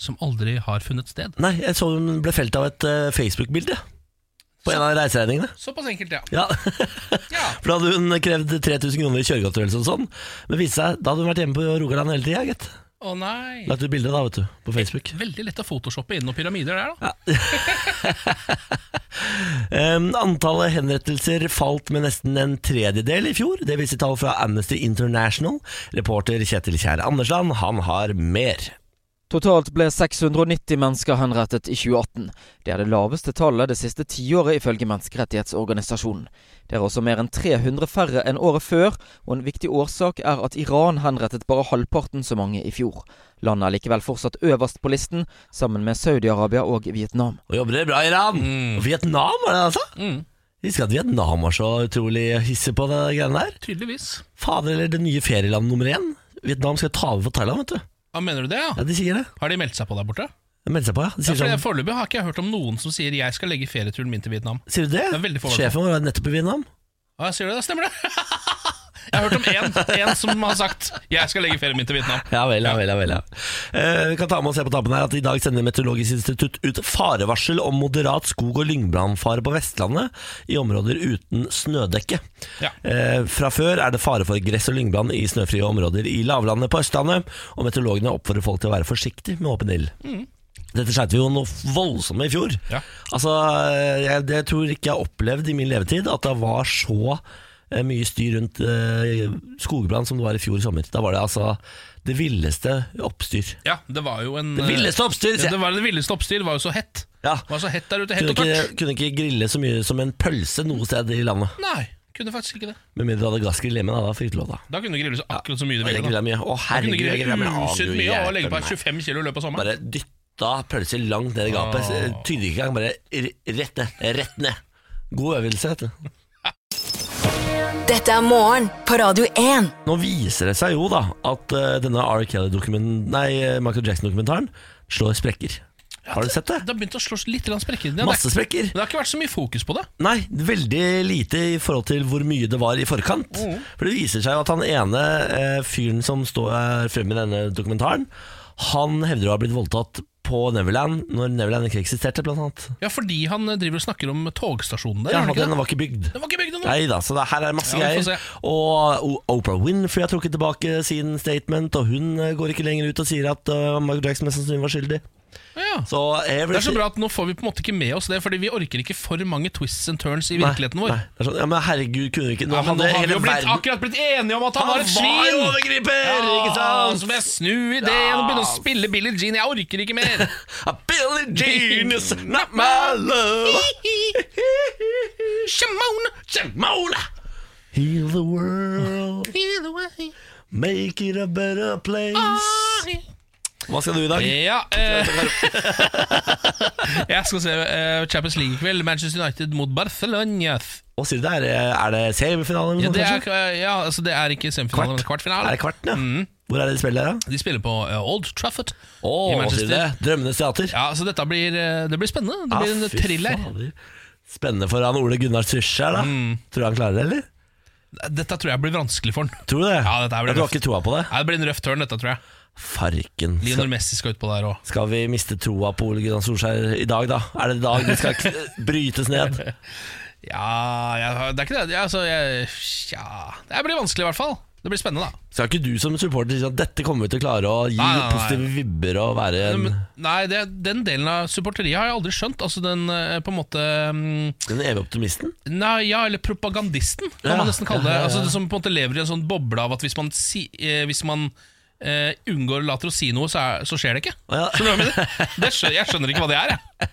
S2: som aldri har funnet sted.
S1: Nei, jeg så hun ble felt av et eh, Facebook-bilde. på en av reiseregningene.
S2: Såpass enkelt, ja.
S1: Ja. [LAUGHS] For da hadde hun krevd 3000 kroner i kjøregodtgjørelse og sånn. Men viste seg, da hadde hun vært hjemme på Rogaland hele tida, gitt.
S2: Å nei.
S1: Lagt ut bilde da, vet du, på Facebook.
S2: Veldig lett å photoshoppe inn noen pyramider der, da.
S1: Em, antallet henrettelser falt med nesten en tredjedel i fjor. Det viser tall fra Amnesty International. Reporter Kjetil Kjære Andersland, han har mer.
S9: Totalt ble 690 mennesker henrettet i 2018. Det er det laveste tallet det siste tiåret ifølge Menneskerettighetsorganisasjonen. Det er også mer enn 300 færre enn året før, og en viktig årsak er at Iran henrettet bare halvparten så mange i fjor. Landet er likevel fortsatt øverst på listen, sammen med Saudi-Arabia og Vietnam.
S1: Og jobber dere bra, Iran?
S2: Mm.
S1: Og Vietnam, var det altså? Mm. Husker at Vietnam var så utrolig hissig på det greiene der.
S2: Tydeligvis.
S1: Fader, eller det nye ferielandet nummer én. Vietnam skal ta over for Thailand, vet du.
S2: Ja, mener du det, ja?
S1: Ja, De sier det.
S2: Har de meldt seg på der borte?
S1: De melder seg på, ja. De
S2: Ja,
S1: sier,
S2: for jeg-
S1: sånn,
S2: Foreløpig har ikke jeg hørt om noen som sier 'jeg skal legge ferieturen min til Vietnam'.
S1: sier du det?
S2: Det er veldig forvalt.
S1: Sjefen vår var nettopp i Vietnam.
S2: Ja, jeg sier det, da stemmer det. [LAUGHS] Jeg har hørt om én en som har sagt 'jeg skal legge ferien min til Vietnam'.
S1: Ja vel, ja vel. Ja, vel ja. Eh, vi kan ta med og se på tampen her at i dag sender Meteorologisk institutt ut farevarsel om moderat skog- og lyngbrannfare på Vestlandet i områder uten snødekke. Eh, fra før er det fare for gress og lyngbrann i snøfrie områder i lavlandet på Østlandet, og meteorologene oppfordrer folk til å være forsiktig med åpen ild. Dette skjønte vi jo noe voldsomt med i fjor. Altså, jeg, det tror jeg ikke jeg har opplevd i min levetid, at det var så eh, mye styr rundt eh, skogbrann som det var i fjor sommer. Da var det altså det villeste oppstyr.
S2: Ja, det var jo en eh,
S1: Det villeste oppstyr, sier jeg.
S2: Ja, det, var, det villeste oppstyr var jo så hett.
S1: Ja.
S2: Det var så hett der ute, hett
S1: Kunne
S2: og tørt.
S1: ikke, kunne ikke grille så mye som en pølse noe sted i landet.
S2: Nei, kunne faktisk ikke det.
S1: Med mindre du hadde gassgrill hjemme, da. da fikk du lov, da.
S2: Da kunne du grille så akkurat så mye du
S1: Ja, jeg
S2: ville.
S1: grilla mye. Å, herregud, jeg
S2: da kunne
S1: grilla
S2: du
S1: mye.
S2: grille
S1: Å,
S2: usykt
S1: Gud,
S2: mye og
S1: hjelpe
S2: legge på
S1: meg.
S2: 25 kilo i løpet av sommeren.
S1: Bare dytta pølser langt ned i gapet.
S2: Åh.
S1: Tygde ikke engang, bare r- rett ned. Rett ned. God øvelse, vet du.
S3: Dette er morgen på Radio 1.
S1: Nå viser det seg jo da at eh, denne R. Kelly-dokumentaren Nei, eh, Michael Jackson-dokumentaren slår sprekker. Har du sett det?
S2: Det har begynt å slå litt grann sprekker. Det,
S1: Masse
S2: det,
S1: sprekker.
S2: det har ikke vært så mye fokus på det.
S1: Nei, veldig lite i forhold til hvor mye det var i forkant.
S2: Mhm.
S1: For det viser seg jo at han ene eh, fyren som står fremme i denne dokumentaren, han hevder å ha blitt voldtatt på Neverland, når Neverland ikke eksisterte, blant annet.
S2: Ja, fordi han eh, driver og snakker om togstasjonen der.
S1: Ja,
S2: gjør han ikke
S1: den
S2: det?
S1: var ikke bygd.
S2: Den var ikke bygd ennå.
S1: Nei da, så det, her er masse
S2: Ja, vi får
S1: greier. Og O- Oprah Winfrey har trukket tilbake sin statement, og hun eh, går ikke lenger ut og sier at eh, Michael Jackson mest sannsynlig var skyldig.
S2: Ja.
S1: Så every-
S2: Det er så bra at nå får vi på en måte ikke med oss det, fordi vi orker ikke for mange twists and turns i virkeligheten vår.
S1: Nei, det er sånn, ja, men herregud, kunne vi ikke Nå
S2: Ja, men nå
S1: hadde
S2: har vi
S1: hele
S2: jo blitt,
S1: verden
S2: akkurat blitt enige om at han,
S1: Han
S2: var et
S1: var
S2: svin!
S1: jo overgriper, ikke sant?
S2: Så må jeg snu ideen og begynne å spille Billie Jean. Jeg orker ikke mer!
S1: Billie Jean is not my love.
S2: Shimona, Shimona.
S1: Heal the world, make it a better place. Hva skal du i dag?
S2: Ja, eh, jeg skal se eh, Champions League i kveld. Manchester United mot Barcelona.
S1: Hva sier du der? Er det semifinale? eller
S2: Ja,
S1: noe
S2: det er,
S1: sånt, kanskje?
S2: ja, altså det er ikke semifinale, men kvartfinale.
S1: Er det kvarten, ja? Hvor er det de spiller, da?
S2: De spiller på eh, Old Trafford
S1: Åh,
S2: i
S1: hva sier du det?
S2: Manchester.
S1: Drømmenes teater.
S2: Ja, så dette blir, eh, det blir spennende. Det
S1: Ah,
S2: blir en
S1: fy
S2: thriller. Mm.
S1: fader. Spennende for han Ole Gunnar Trysje her, da. Tror du han klarer det, eller?
S2: Dette tror jeg blir vanskelig for han.
S1: Tror du det?
S2: Ja, dette blir
S1: du har
S2: røft.
S1: ikke troa på det?
S2: Nei, det blir en røff tørn, dette, tror jeg.
S1: Farken.
S2: Lionel Messi skal utpå der òg.
S1: Skal vi miste troa på Ole Gunnar Solskjær i dag, da? Er det i dag det
S2: [LAUGHS]
S1: skal k- brytes ned?
S2: Ja, jeg, det er ikke det. Jeg, altså, jeg, ja. Det blir vanskelig, i hvert fall. Det blir spennende, da.
S1: Skal ikke du som supporter si at dette kommer vi til å klare å gi
S2: Nei, nei, nei.
S1: positive vibber og være en,
S2: Nei, det, Den delen av supporteriet har jeg aldri skjønt. Altså den eh, på en måte mm,
S1: den evige optimisten?
S2: Nei, ja, eller propagandisten, kan
S1: Ja,
S2: man nesten kalle det.
S1: ja, ja, ja.
S2: Altså, det som på en måte lever i en sånn boble av at hvis man, si, eh, hvis man eh, unngår og later å si noe, så, er, så skjer det ikke. Skjønner du hva jeg mener? Det skjø- jeg skjønner ikke hva det er, jeg.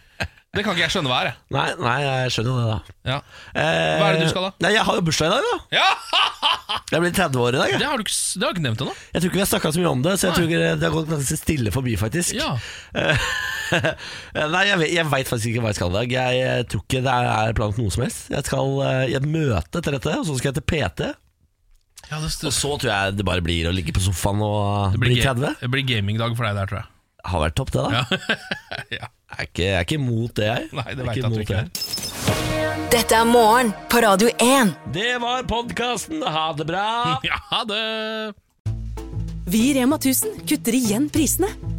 S2: Det kan ikke jeg skjønne hva er, jeg.
S1: Nei, nei, jeg skjønner jo det, da.
S2: Ja.
S1: Eh,
S2: Hva er det du skal, da?
S1: Nei, Jeg har jo bursdag i dag, da. Jeg blir 30 år i dag. Jeg,
S2: Det har du ikke, s- det har du ikke nevnt ennå.
S1: jeg tror ikke vi har snakka så mye om det, så jeg
S2: Nei.
S1: tror ikke det har gått ganske stille forbi, faktisk.
S2: Ja.
S1: Eh, nei, jeg, vet- jeg veit faktisk ikke hva jeg skal i dag. Jeg eh, tror ikke det er planlagt noe som helst. Jeg skal eh, i et møte til dette, og så skal jeg til PT. og så tror jeg det bare blir å ligge på sofaen og
S2: Det
S1: bli
S2: blir, ga-
S1: 30.
S2: det blir gamingdag for deg der, tror jeg.
S1: Har vært topp, det, [LAUGHS] da. Jeg, er ikke, jeg er ikke imot det, jeg.
S2: Nei, det
S1: Jeg er
S2: vet jeg at du
S1: imot
S2: ikke er.
S1: det.
S3: Dette er morgen på Radio 1.
S1: Det var podkasten. Ha det bra.
S2: Ja, ha det.
S10: Vi i Rema 1000 kutter igjen prisene.